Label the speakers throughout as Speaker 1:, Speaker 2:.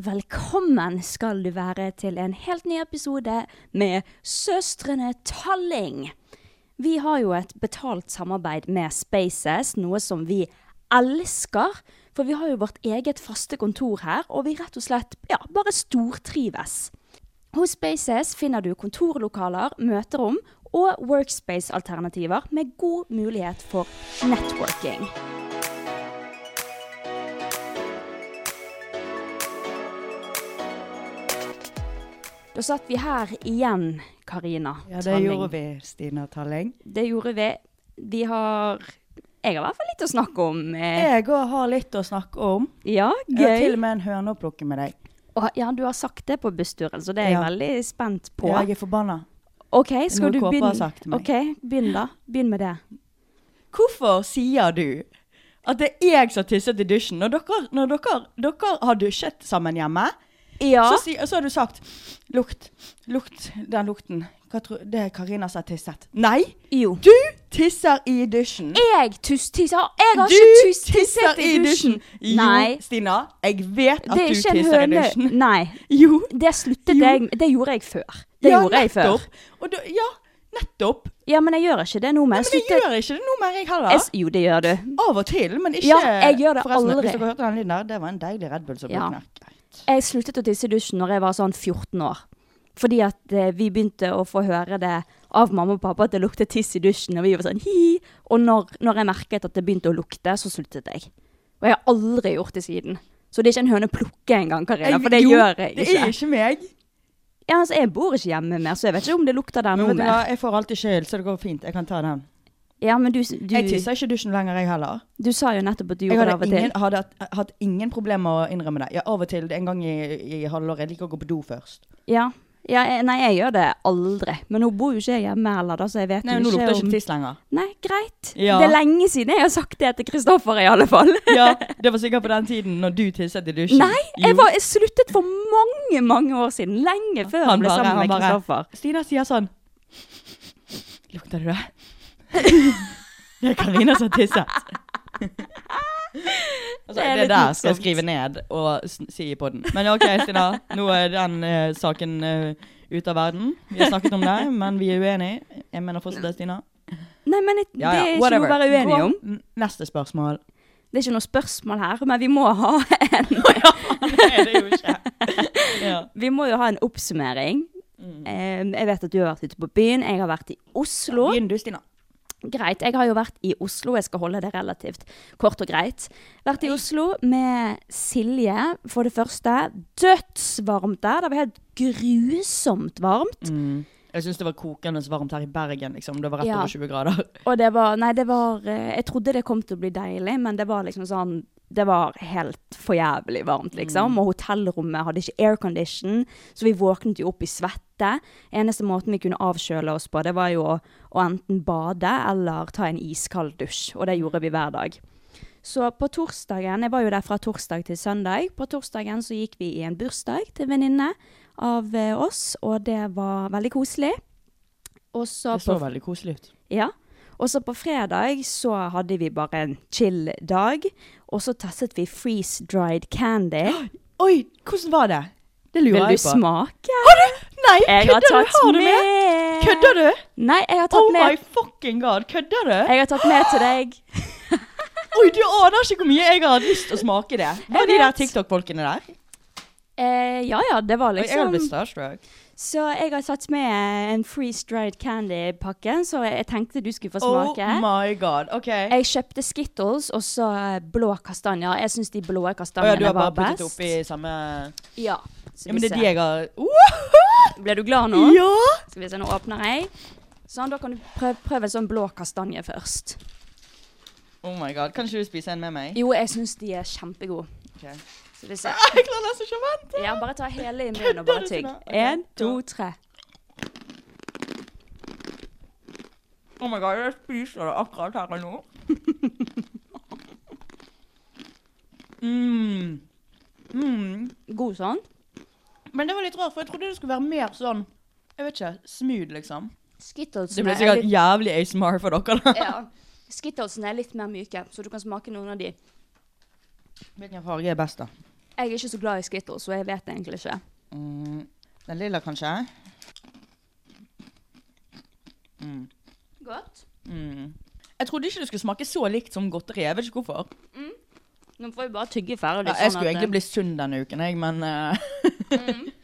Speaker 1: Velkommen skal du være til en helt ny episode med Søstrene Talling. Vi har jo et betalt samarbeid med Spaces, noe som vi elsker. For vi har jo vårt eget faste kontor her, og vi rett og slett ja, bare stortrives. Hos Spaces finner du kontorlokaler, møterom og workspace-alternativer med god mulighet for networking. Da satt vi her igjen, Karina.
Speaker 2: Ja, det
Speaker 1: Tanning.
Speaker 2: gjorde vi, Stina Talling.
Speaker 1: Det gjorde vi. Vi har Jeg har i hvert fall litt å snakke om. Eh,
Speaker 2: Jeg òg har litt å snakke om.
Speaker 1: ja,
Speaker 2: Jeg har til
Speaker 1: gøy.
Speaker 2: og med en høne å plukke med deg.
Speaker 1: Og, ja, du har sagt det på bussturen, så det er jeg
Speaker 2: Ja.
Speaker 1: veldig spent på.
Speaker 2: Ja, jeg er forbanna.
Speaker 1: OK,
Speaker 2: noe
Speaker 1: skal du
Speaker 2: Kåpe
Speaker 1: begynne?
Speaker 2: har sagt til meg.
Speaker 1: Ok, begynn da. Begynn med det.
Speaker 2: Hvorfor sier du at det er jeg som tisset i dusjen? Når dere, når dere, dere har dusjet sammen hjemme,
Speaker 1: Ja.
Speaker 2: så, si, så har du sagt Lukt, lukt, den lukten. Hva tror, det er Karina som har tisset. Nei!
Speaker 1: Jo.
Speaker 2: Du tisser i dusjen.
Speaker 1: Jeg tusstiser! Jeg har
Speaker 2: Du
Speaker 1: ikke tusstisset i dusjen!
Speaker 2: Jo,
Speaker 1: Nei.
Speaker 2: Stina, jeg vet at
Speaker 1: Det
Speaker 2: du
Speaker 1: er ikke
Speaker 2: tisser
Speaker 1: en
Speaker 2: i dusjen.
Speaker 1: høne. Nei.
Speaker 2: Jo.
Speaker 1: Det sluttet
Speaker 2: Jo.
Speaker 1: jeg Det gjorde jeg før. Det gjorde jeg før.
Speaker 2: nettopp. Og da, ja, nettopp.
Speaker 1: Ja, men jeg gjør ikke det nå. Men,
Speaker 2: Men
Speaker 1: jeg
Speaker 2: jeg
Speaker 1: sluttet
Speaker 2: gjør ikke det nå mer, jeg heller.
Speaker 1: jeg, s- Jo, det gjør du.
Speaker 2: Av og til, men ikke
Speaker 1: Ja, jeg gjør det
Speaker 2: Forresten,
Speaker 1: aldri.
Speaker 2: Hvis dere hørte den lyden der, det var en deilig Red Bull som ble
Speaker 1: Ja.
Speaker 2: knekt.
Speaker 1: Jeg sluttet å tisse i dusjen når jeg var sånn 14 år. Fordi at eh, vi begynte å få høre det av mamma og pappa at det luktet tiss i dusjen. Og vi var sånn hi. Og når, når jeg merket at det begynte å lukte, så sluttet jeg. Og jeg har aldri gjort det siden. Så det er ikke en høne å plukke engang, Karina. For det
Speaker 2: jo,
Speaker 1: gjør jeg
Speaker 2: Det er
Speaker 1: ikke.
Speaker 2: ikke meg.
Speaker 1: Ja, altså, jeg bor ikke hjemme mer, så jeg vet ikke om det lukter der
Speaker 2: Men
Speaker 1: nå
Speaker 2: vet du hva,
Speaker 1: mer.
Speaker 2: jeg får alltid skyld, så det går fint. Jeg kan ta den.
Speaker 1: Ja, men du, s- du,
Speaker 2: Jeg tisser ikke i dusjen lenger, jeg heller.
Speaker 1: du sa jo nettopp at du
Speaker 2: Jeg
Speaker 1: gjorde
Speaker 2: hadde,
Speaker 1: det av og
Speaker 2: ingen,
Speaker 1: til.
Speaker 2: hadde hatt- hatt ingen problemer med å innrømme det. Ja, av og til. En gang i, i halvåret. Jeg liker å gå på do først.
Speaker 1: Ja. Ja, jeg- nei, jeg gjør det aldri. Men nå bor jo ikke jeg hjemme heller, da, så jeg vet
Speaker 2: Nei,
Speaker 1: jo
Speaker 2: nå
Speaker 1: ikke
Speaker 2: lukter det
Speaker 1: om
Speaker 2: ikke tiss lenger.
Speaker 1: Nei, greit.
Speaker 2: Ja.
Speaker 1: Det er lenge siden jeg har sagt det til Kristoffer, i alle fall.
Speaker 2: Ja, det var sikkert på den tiden når du tisset i dusjen.
Speaker 1: Nei, jeg,
Speaker 2: Jo.
Speaker 1: var, jeg sluttet for mange, mange år siden. Lenge før han, ble sammen med Kristoffer.
Speaker 2: Stina sier sånn Lukter du det? det er Karina som har tisset. Altså,
Speaker 1: Det er
Speaker 2: det,
Speaker 1: litt
Speaker 2: der skal
Speaker 1: morsomt.
Speaker 2: jeg skrive ned og s- si i podden. Men OK, Stina. Nå er den eh, saken eh, ute av verden. Vi har snakket om det, men vi er uenige. Jeg mener fortsatt det, Stina.
Speaker 1: Nei, men det,
Speaker 2: Ja, ja,
Speaker 1: det er ikke
Speaker 2: whatever.
Speaker 1: noe å være uenig
Speaker 2: Gå-
Speaker 1: om.
Speaker 2: n- Neste spørsmål.
Speaker 1: Det er ikke noe spørsmål her, men vi må ha en,
Speaker 2: Det er det jo ikke. Ja. Mm.
Speaker 1: vi må jo ha en oppsummering. Eh, Jeg vet at du har vært ute på byen, jeg har vært i Oslo.
Speaker 2: Begynn du, Stina.
Speaker 1: Greit, jeg har jo vært i Oslo, jeg skal holde det relativt kort og greit. Vært i Oslo med Silje, for det første. Dødsvarmt der, det var helt grusomt varmt.
Speaker 2: Jeg syns det var kokende så varmt her i Bergen. liksom. Det var rett
Speaker 1: Ja.
Speaker 2: over 20 grader.
Speaker 1: Og det var, nei det var, eh, jeg trodde det kom til å bli deilig, men det var liksom sånn, det var helt for jævlig varmt liksom.
Speaker 2: Mm.
Speaker 1: Og hotellrommet hadde ikke aircondition, så vi våknet jo opp i svette. Eneste måten vi kunne avkjøle oss på, det var jo å, å enten bade eller ta en iskald dusj, og det gjorde vi hver dag. Så på torsdagen, jeg var jo der fra torsdag til søndag, på torsdagen så gikk vi i en bursdag til en venninne av eh, oss, og det var veldig koselig. Og så
Speaker 3: Det
Speaker 1: på
Speaker 3: så veldig koselig ut.
Speaker 1: ja. Og så på fredag så hadde vi bare en chill dag, og så testet vi freeze dried candy.
Speaker 3: Oi, hvordan var det? Det lurer
Speaker 1: Vil
Speaker 3: jeg
Speaker 1: du
Speaker 3: på.
Speaker 1: smake?
Speaker 3: Har du? Nei,
Speaker 1: Jeg har
Speaker 3: kødder du?
Speaker 1: tatt
Speaker 3: Har du med?
Speaker 1: med.
Speaker 3: Kødder du?
Speaker 1: Nei, jeg har tatt
Speaker 3: Oh my
Speaker 1: med.
Speaker 3: fucking god, kødder du?
Speaker 1: Jeg har tatt med til deg.
Speaker 3: Oi, du aner ikke hvor mye jeg har hatt lyst til å smake det. Var
Speaker 1: Jeg
Speaker 3: de der
Speaker 1: vet.
Speaker 3: TikTok-folkene der?
Speaker 1: Eh, ja ja, det var
Speaker 3: Oi, jeg hadde
Speaker 1: liksom
Speaker 3: blitt starstruck.
Speaker 1: Så jeg har tatt med en freeze dried candy-pakke, så jeg tenkte du skulle få
Speaker 3: Oh
Speaker 1: smake.
Speaker 3: my god, ok. Å
Speaker 1: jeg kjøpte Skittles og så eh, blå kastanjer. Jeg syns de blå
Speaker 3: ja,
Speaker 1: kastanjene
Speaker 3: du har
Speaker 1: var
Speaker 3: bare puttet
Speaker 1: best.
Speaker 3: oppi samme
Speaker 1: Ja.
Speaker 3: Ja,
Speaker 1: Skal vi
Speaker 3: men det
Speaker 1: se.
Speaker 3: er de jeg har Wow!
Speaker 1: Ble du glad nå?
Speaker 3: Ja!
Speaker 1: Skal vi se, nå åpner jeg. Sånn, da kan du prøve, prøve en sånn blå kastanje først.
Speaker 3: Oh my god, kan ikke du spise en med meg?
Speaker 1: Jo, jeg syns de er kjempegode.
Speaker 3: Ok.
Speaker 1: Skal vi se.
Speaker 3: Jeg klarer nesten ikke å vente.
Speaker 1: Ja, bare ta hele i munnen og bare
Speaker 3: Kødder du,
Speaker 1: tygg.
Speaker 3: Tina? Ok,
Speaker 1: Én, to,
Speaker 3: da.
Speaker 1: tre.
Speaker 3: Oh my god, jeg spiser det akkurat her og nå. mm. Mm.
Speaker 1: God sånn.
Speaker 3: Men det var litt rart, for jeg trodde det skulle være mer sånn Jeg vet ikke, smooth, liksom.
Speaker 1: Skittles
Speaker 3: Det ble sikkert jævlig ASMR for dere, da.
Speaker 1: ja. Skittlesene er litt mer myke, så du kan smake noen av de.
Speaker 3: Hvilken farge er best, da?
Speaker 1: Jeg er ikke så glad i Skittles, så jeg vet egentlig ikke.
Speaker 3: Mm. Den lilla, kanskje?
Speaker 1: Godt.
Speaker 3: Mm. Jeg trodde ikke det skulle smake så likt som godteri. Jeg vet ikke hvorfor.
Speaker 1: Mm. Nå får vi bare tygge ferdig. sånn eh,
Speaker 3: Ja, jeg skulle egentlig bli sunn denne uken, jeg, men eh,
Speaker 1: Mm.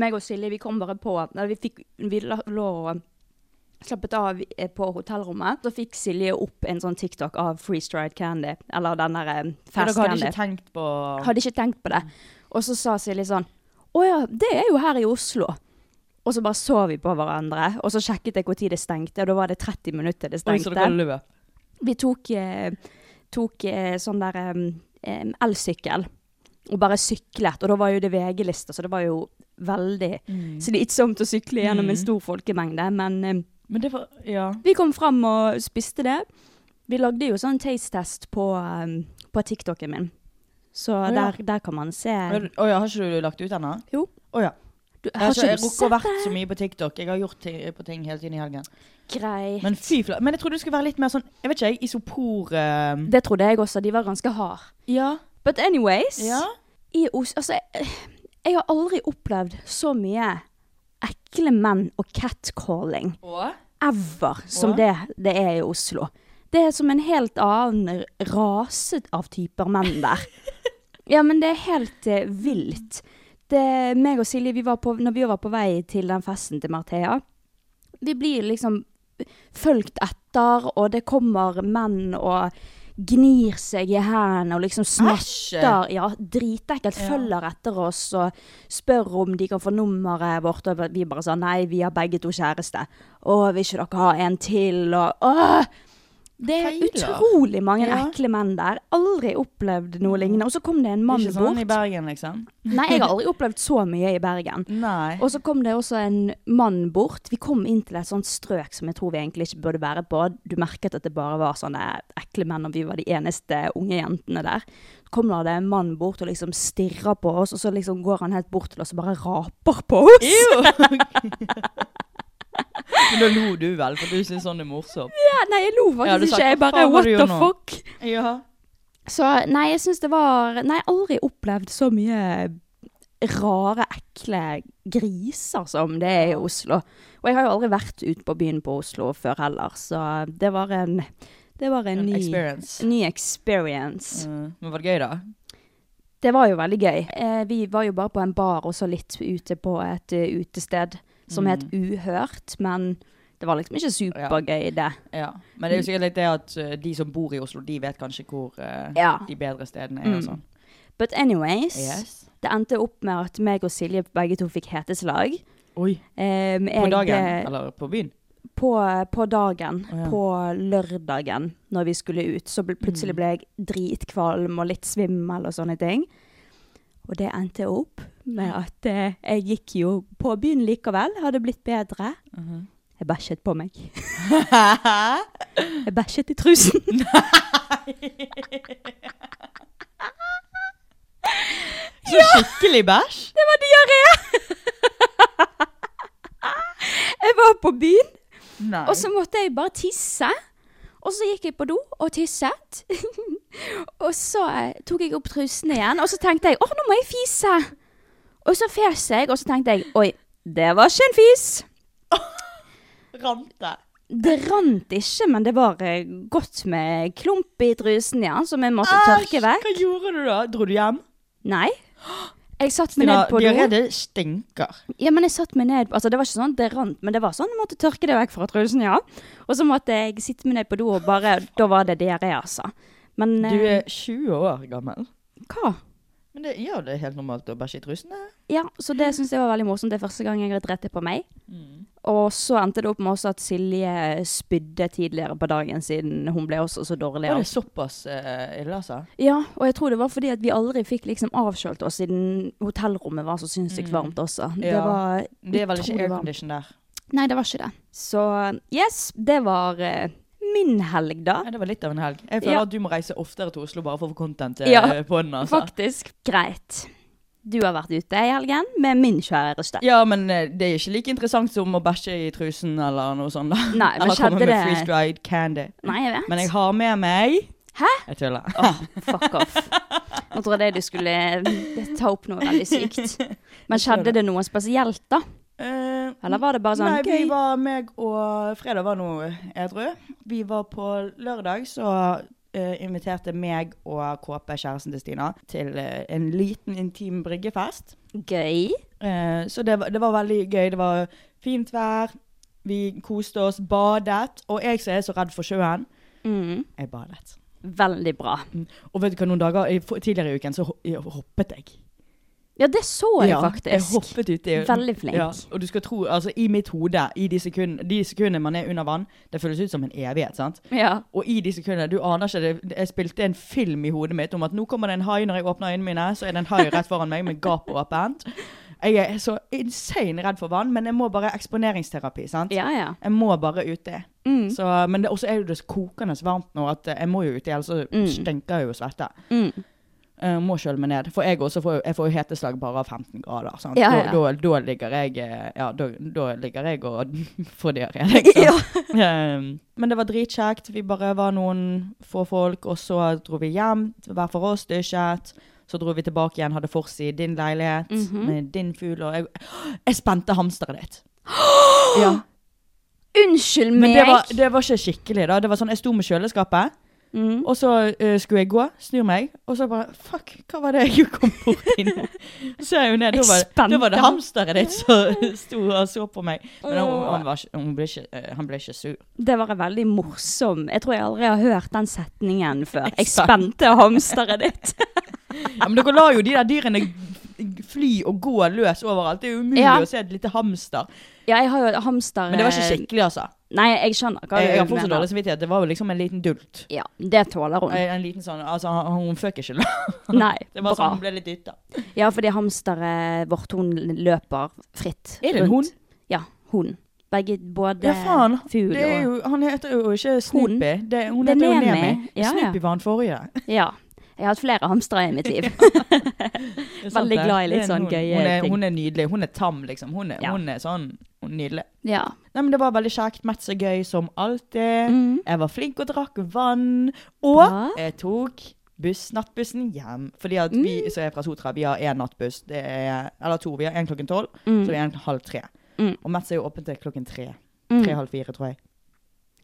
Speaker 1: Meg og Silje, vi kom bare på Nei, vi, fikk, vi la, lå og slappet av eh, på hotellrommet. Så fikk Silje opp en sånn TikTok av freeze-dried candy, eller den der eh,
Speaker 3: for
Speaker 1: fast
Speaker 3: Dere hadde
Speaker 1: candy.
Speaker 3: ikke tenkt på Mm.
Speaker 1: Hadde ikke tenkt på det. Og så sa Silje sånn Å ja, det er jo her i Oslo. Og så bare så vi på hverandre, og så sjekket jeg når det stengte, og da var det 30 minutter til det
Speaker 3: Oi,
Speaker 1: stengte.
Speaker 3: så dere løp.
Speaker 1: Vi tok, eh, tok eh, sånn der eh, eh, elsykkel og bare syklet, og da var jo det VG-lista, så det var jo veldig
Speaker 3: Mm.
Speaker 1: slitsomt å sykle gjennom en stor folkemengde. Men eh,
Speaker 3: Men det var Ja.
Speaker 1: vi kom fram og spiste det. Vi lagde jo sånn taste-test på, eh, på TikToken min, så
Speaker 3: Å ja.
Speaker 1: der, der kan man se.
Speaker 3: Å ja, har ikke du lagt det ut ennå?
Speaker 1: Jo.
Speaker 3: Å ja.
Speaker 1: Du,
Speaker 3: Jeg har ikke jeg
Speaker 1: du
Speaker 3: rukker å
Speaker 1: sett
Speaker 3: vært så mye på TikTok. Jeg har gjort ti- på ting hele tiden i helgen.
Speaker 1: Greit.
Speaker 3: Men fy flate. Men jeg trodde det skulle være litt mer sånn Jeg vet ikke, jeg. Isopor eh,
Speaker 1: Det trodde jeg også, de var ganske hard.
Speaker 3: Ja.
Speaker 1: But anyways,
Speaker 3: Ja.
Speaker 1: i Os altså, jeg, jeg har aldri opplevd så mye ekle menn og catcalling ever som
Speaker 3: Åh?
Speaker 1: det det er i Oslo. Det er som en helt annen rase av typer menn der. Ja, men det er helt eh, vilt. Det, meg og Silje, vi var på, når vi var på vei til den festen til Marthea, vi blir liksom fulgt etter, og det kommer menn og gnir seg i hendene og liksom
Speaker 3: Æsj!
Speaker 1: snatter. Ja, dritekkelt. Følger etter oss og spør om de kan få nummeret vårt, og vi bare sa nei, vi har begge to kjæreste. Å, vil ikke dere ha en til? Og åh! Det er
Speaker 3: Feiler.
Speaker 1: utrolig mange
Speaker 3: Ja.
Speaker 1: ekle menn der. Aldri opplevd noe lignende. Og så kom det en
Speaker 3: Det er
Speaker 1: mann
Speaker 3: ikke sånn i
Speaker 1: bort.
Speaker 3: Bergen, liksom?
Speaker 1: Nei, jeg har aldri opplevd så mye i Bergen.
Speaker 3: Nei.
Speaker 1: Og så kom det også en mann bort. Vi kom inn til et sånt strøk som jeg tror vi egentlig ikke burde være på. Du merket at det bare var sånne ekle menn, og vi var de eneste unge jentene der. Så kom det en mann bort og liksom stirrer på oss, og så liksom går han helt bort til oss og bare raper på oss.
Speaker 3: Men da lo du vel, for du syns sånn er morsomt?
Speaker 1: Ja, nei, jeg lo
Speaker 3: Ja, du sa,
Speaker 1: faktisk ikke.
Speaker 3: "Hva
Speaker 1: Jeg bare
Speaker 3: faen var
Speaker 1: what
Speaker 3: det du
Speaker 1: the
Speaker 3: gjorde nå?"
Speaker 1: fuck.
Speaker 3: Ja.
Speaker 1: Så nei, jeg syns det var Nei, aldri opplevd så mye rare, ekle griser som det er i Oslo. Og jeg har jo aldri vært ute på byen på Oslo før heller, så det var en Det var en,
Speaker 3: En
Speaker 1: ny
Speaker 3: experience.
Speaker 1: en ny experience.
Speaker 3: Mm. Men var det gøy, da?
Speaker 1: Det var jo veldig gøy. Eh, vi var jo bare på en bar og så litt ute på et eh, utested som
Speaker 3: Mm.
Speaker 1: het Uhørt, men det var liksom ikke supergøy, det.
Speaker 3: Ja. Men det er jo sikkert litt det at eh, de som bor i Oslo, de vet kanskje hvor eh,
Speaker 1: Ja. Mm.
Speaker 3: de bedre stedene er og sånn.
Speaker 1: But anyways,
Speaker 3: Yes.
Speaker 1: det endte opp med at meg og Silje begge to fikk heteslag.
Speaker 3: Oi.
Speaker 1: Um,
Speaker 3: På
Speaker 1: jeg,
Speaker 3: dagen?
Speaker 1: eh,
Speaker 3: Eller på byen?
Speaker 1: På, på dagen.
Speaker 3: Å, ja.
Speaker 1: På lørdagen, når vi skulle ut. Så ble,
Speaker 3: Mm.
Speaker 1: plutselig ble jeg dritkvalm og litt svimmel og sånne ting. Og det endte opp med at eh, jeg gikk jo på byen likevel. Hadde blitt bedre.
Speaker 4: Jeg bæsjet på meg.
Speaker 1: Hæ?
Speaker 4: Jeg bæsjet i trusen.
Speaker 1: Så skikkelig bæsj?
Speaker 4: Det var diaré! Jeg var på byen,
Speaker 1: Nei.
Speaker 4: og så måtte jeg bare tisse. Og så gikk jeg på do og tisset. og så eh, tok jeg opp trusene igjen, og så tenkte jeg åh, nå må jeg fise. Og så fes jeg, og så tenkte jeg oi, det var ikke en fis.
Speaker 1: Rante.
Speaker 4: Det rant ikke, men det var eh, godt med klump i trusen igjen, som jeg måtte tørke vekk.
Speaker 1: Hva gjorde du da? Dro du hjem?
Speaker 4: Nei. Jeg satt meg
Speaker 1: Stina,
Speaker 4: ned på do.
Speaker 1: diaré det stinker.
Speaker 4: Ja, men jeg satt meg ned Altså, det var ikke sånn at det rant, men det var sånn jeg måtte tørke det vekk fra trusen, ja. Og så måtte jeg sitte meg ned på do, og bare Da var det diaré, altså. Men
Speaker 1: Du
Speaker 4: eh,
Speaker 1: er 20 år gammel.
Speaker 4: hva?
Speaker 1: Men det gjør det helt normalt å bæsje i trusene.
Speaker 4: Ja, så det syns jeg var veldig morsomt. Det er første gang jeg har drept det på meg.
Speaker 1: Mm.
Speaker 4: Og så endte det opp med også at Silje spydde tidligere på dagen, siden hun ble også så dårlig.
Speaker 1: Var
Speaker 4: av-
Speaker 1: det såpass eh, ille, altså?
Speaker 4: Ja, og jeg tror det var fordi at vi aldri fikk liksom avkjølt oss, siden hotellrommet var så sinnssykt varmt også. Det
Speaker 1: Mm. Ja.
Speaker 4: var
Speaker 1: Det er vel ikke
Speaker 4: utrolig varmt.
Speaker 1: aircondition der.
Speaker 4: Nei, det var ikke det. Så yes, det var eh, min helg, da.
Speaker 1: Nei, det var litt av en helg. Jeg føler
Speaker 4: Ja.
Speaker 1: at du må reise oftere til Oslo bare for å få content eh,
Speaker 4: Ja,
Speaker 1: på den. altså.
Speaker 4: Faktisk. Greit. Du har vært ute i helgen med min kjæreste.
Speaker 1: Ja, men eh, det er ikke like interessant som å bæsje i trusen eller noe sånt. da.
Speaker 4: Nei, men
Speaker 1: eller komme
Speaker 4: skjedde
Speaker 1: med
Speaker 4: det-
Speaker 1: freeze dried candy.
Speaker 4: Nei, jeg vet.
Speaker 1: Men jeg har med meg
Speaker 4: Hæ?
Speaker 1: Jeg tuller.
Speaker 4: Fuck off. Nå trodde jeg du skulle eh, ta opp noe veldig sykt. Men skjedde det noe spesielt, da?
Speaker 1: Eh,
Speaker 4: Eller var det bare sånn
Speaker 1: Nei,
Speaker 4: gøy?
Speaker 1: vi var meg og Fredag var nå edru. Vi var på lørdag, så eh, inviterte meg og Kåpe, kjæresten til Stina, til eh, en liten intim bryggefest.
Speaker 4: Gøy?
Speaker 1: Eh, så det var, det var veldig gøy. Det var fint vær. Vi koste oss, badet. Og jeg som er så redd for sjøen,
Speaker 4: Mm.
Speaker 1: jeg badet.
Speaker 4: Veldig bra.
Speaker 1: Mm. Og vet du hva, noen dager i- for- tidligere i uken så ho- jeg hoppet jeg.
Speaker 4: Ja, det så jeg
Speaker 1: Jeg
Speaker 4: faktisk.
Speaker 1: hoppet uti.
Speaker 4: Veldig flink.
Speaker 1: Ja, og du skal tro, altså i mitt hode, i de sekundene, de sekundene man er under vann, det føles ut som en evighet, sant?
Speaker 4: Ja.
Speaker 1: Og i de sekundene, du aner ikke, det, jeg spilte en film i hodet mitt om at nå kommer det en hai når jeg åpner øynene mine, så er det en hai rett foran meg med gap åpent. Jeg er så insane redd for vann, men jeg må bare eksponeringsterapi, sant?
Speaker 4: Ja, Mm. ja.
Speaker 1: Jeg må bare uti. Så, men det, også er jo det så kokende så varmt nå at eh, jeg må jo uti, ellers så stinker jeg jo svette.
Speaker 4: Mm.
Speaker 1: Eh, må kjøle meg ned. For jeg også får, jeg får jo heteslag bare av 15 grader. Sant?
Speaker 4: Ja, ja, ja.
Speaker 1: Da, da, da ligger jeg eh, Ja, da, da ligger jeg og får diaré, liksom.
Speaker 4: Ja.
Speaker 1: Ehm, men det var dritkjekt. Vi bare var noen få folk, og så dro vi hjem hver for oss, dusjet. Så dro vi tilbake igjen, hadde vors i din leilighet
Speaker 4: Mhm.
Speaker 1: med din fugl. Og jeg, jeg spente hamsteret ditt. Ja.
Speaker 4: Unnskyld
Speaker 1: Men
Speaker 4: meg!
Speaker 1: det var, det var ikke skikkelig, da. Det var sånn, Jeg sto med kjøleskapet, og så eh, skulle jeg gå, snur meg, og så bare Fuck, hva var det jeg kom borti nå? Så ser jeg jo ned, da var,
Speaker 4: Jeg
Speaker 1: da var det
Speaker 4: spente
Speaker 1: hamsteret ditt som sto og så på meg. Men han, han, var, ikke- hun ble ikke, eh, han ble ikke sur.
Speaker 4: Det var en veldig morsom Jeg tror jeg aldri har hørt den setningen før. Jeg
Speaker 1: sant.
Speaker 4: spente hamsteret ditt.
Speaker 1: Ja, men dere lar jo de der dyrene fly og gå løs overalt. Det er jo umulig
Speaker 4: Ja.
Speaker 1: å se et lite hamster.
Speaker 4: Ja, jeg har jo hamster eh,
Speaker 1: Men det var ikke skikkelig, altså.
Speaker 4: Nei, jeg skjønner hva
Speaker 1: Jeg, jeg har
Speaker 4: du
Speaker 1: fortsatt
Speaker 4: mener.
Speaker 1: dårlig samvittighet. Det var jo liksom en liten dult.
Speaker 4: Ja, det tåler hun.
Speaker 1: En en liten sånn, altså han- Hun føk ikke løs.
Speaker 4: Nei,
Speaker 1: Det var
Speaker 4: bra.
Speaker 1: sånn hun ble litt dytta.
Speaker 4: Ja, fordi hamsteret vårt, hun løper fritt.
Speaker 1: Er det en
Speaker 4: rundt.
Speaker 1: hund?
Speaker 4: Ja, hun. Begge, både
Speaker 1: Ja, faen.
Speaker 4: fugl
Speaker 1: Det er
Speaker 4: og
Speaker 1: jo, han heter jo ikke
Speaker 4: Hun.
Speaker 1: Snoopy. Det, hun
Speaker 4: Det er
Speaker 1: heter jo
Speaker 4: Nemi.
Speaker 1: Nemi.
Speaker 4: Ja, ja.
Speaker 1: Snoopy var han forrige.
Speaker 4: Ja. Jeg har hatt flere hamstere i mitt liv.
Speaker 1: Det er sant,
Speaker 4: Veldig
Speaker 1: det.
Speaker 4: glad i litt
Speaker 1: Det er en
Speaker 4: sånn
Speaker 1: hund.
Speaker 4: gøye
Speaker 1: hun er,
Speaker 4: ting.
Speaker 1: Hun er nydelig. Hun er tam, liksom. Hun er,
Speaker 4: Ja.
Speaker 1: hun er sånn hun er nydelig.
Speaker 4: Ja.
Speaker 1: Nei, men Det var veldig kjekt. Mett så gøy som alltid.
Speaker 4: Mhm.
Speaker 1: Jeg var flink og drakk vann. Og
Speaker 4: Bra.
Speaker 1: jeg tok buss, nattbussen hjem. Fordi at vi
Speaker 4: Mm.
Speaker 1: som er fra Sotra, vi har én nattbuss. Det er, eller to. Vi har én klokken tolv, så vi har en halv tre.
Speaker 4: Mm.
Speaker 1: Og Metz er jo åpent til klokken tre.
Speaker 4: Mm.
Speaker 1: Tre-halv fire, tror jeg.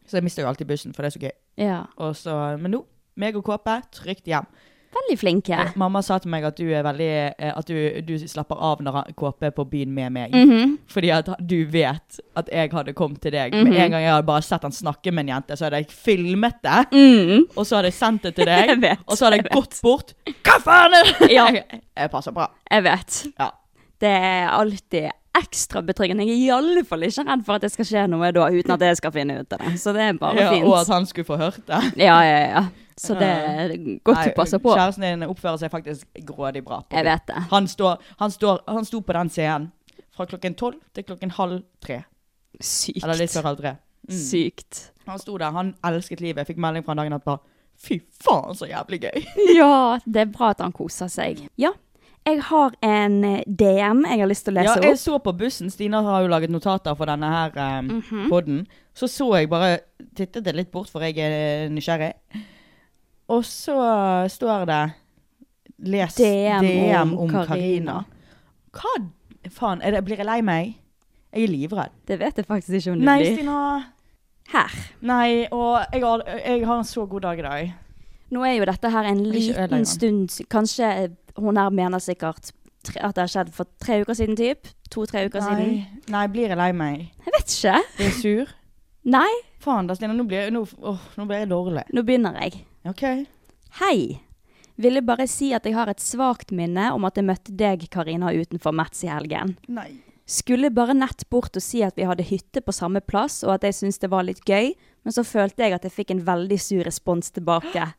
Speaker 1: Så jeg mister jo alltid bussen, for det er så gøy.
Speaker 4: ja.
Speaker 1: Og så, men nå, meg og Kåpe, trygt hjem.
Speaker 4: Veldig flinke.
Speaker 1: Eh, Mamma sa til meg at du er veldig eh, At du, du slapper av når han- Kåpe er på byen med meg.
Speaker 4: Mhm.
Speaker 1: Fordi at du vet at jeg hadde kommet til deg. Med en gang jeg hadde bare sett han snakke med en jente, så hadde jeg filmet det. Og så hadde jeg sendt det til deg.
Speaker 4: Mhm. Jeg vet,
Speaker 1: og så hadde jeg, gått bort. Hva faen er det?!
Speaker 4: Ja.
Speaker 1: Jeg, jeg passer bra.
Speaker 4: Jeg vet.
Speaker 1: Ja.
Speaker 4: Det er alltid ekstra betryggende. Jeg er i alle fall ikke redd for at det skal skje noe da, uten at jeg skal finne ut av det. Så det er bare
Speaker 1: Ja, og at
Speaker 4: fint.
Speaker 1: han skulle få hørt det.
Speaker 4: Ja, ja, ja. Så det er godt
Speaker 1: Nei,
Speaker 4: du passer på.
Speaker 1: Kjæresten din oppfører seg faktisk grådig bra. på
Speaker 4: Jeg
Speaker 1: byen.
Speaker 4: vet det.
Speaker 1: Han, står, han, står, han sto på den scenen fra klokken tolv til klokken halv tre.
Speaker 4: Sykt.
Speaker 1: Eller litt før halv tre. Mm.
Speaker 4: Sykt.
Speaker 1: Han sto der, han elsket livet. Jeg fikk melding fra han dagen etterpå. Fy faen, så jævlig gøy.
Speaker 4: Ja, det er bra at han koser seg. Ja. Jeg har en eh, DM jeg har lyst til å
Speaker 1: Ja,
Speaker 4: lese
Speaker 1: jeg
Speaker 4: opp.
Speaker 1: så på bussen. Stina har jo laget notater for denne her um,
Speaker 4: Mhm.
Speaker 1: podden. Så så jeg bare Tittet jeg litt bort, for jeg er nysgjerrig. Og så står det Les
Speaker 4: DM
Speaker 1: DM,
Speaker 4: om
Speaker 1: om
Speaker 4: Karina.
Speaker 1: Karina. Hva faen? Er det, blir jeg lei meg? Jeg er livredd.
Speaker 4: Det vet jeg faktisk ikke om det
Speaker 1: Nei,
Speaker 4: blir.
Speaker 1: Stina.
Speaker 4: Her.
Speaker 1: Nei, og jeg har, jeg har en så god dag i dag.
Speaker 4: Nå er jo dette her en
Speaker 1: Ikke ødelegg
Speaker 4: liten
Speaker 1: den.
Speaker 4: stund s- Kanskje eh, hun her mener sikkert tre, at det har skjedd for tre uker siden, typ. To-tre uker siden.
Speaker 1: Nei, nei, blir jeg lei meg?
Speaker 4: Jeg vet ikke.
Speaker 1: Blir jeg sur?
Speaker 4: Nei,
Speaker 1: Faen, da, Stina. Nå blir, jeg- nå, åh, nå blir jeg dårlig.
Speaker 4: nå begynner jeg.
Speaker 1: OK.
Speaker 4: Hei! Ville bare si at jeg har et svakt minne om at jeg møtte deg, Karina, utenfor Mats i helgen.
Speaker 1: Nei.
Speaker 4: Skulle bare nett bort og si at vi hadde hytte på samme plass, og at jeg syntes det var litt gøy, men så følte jeg at jeg fikk en veldig sur respons tilbake.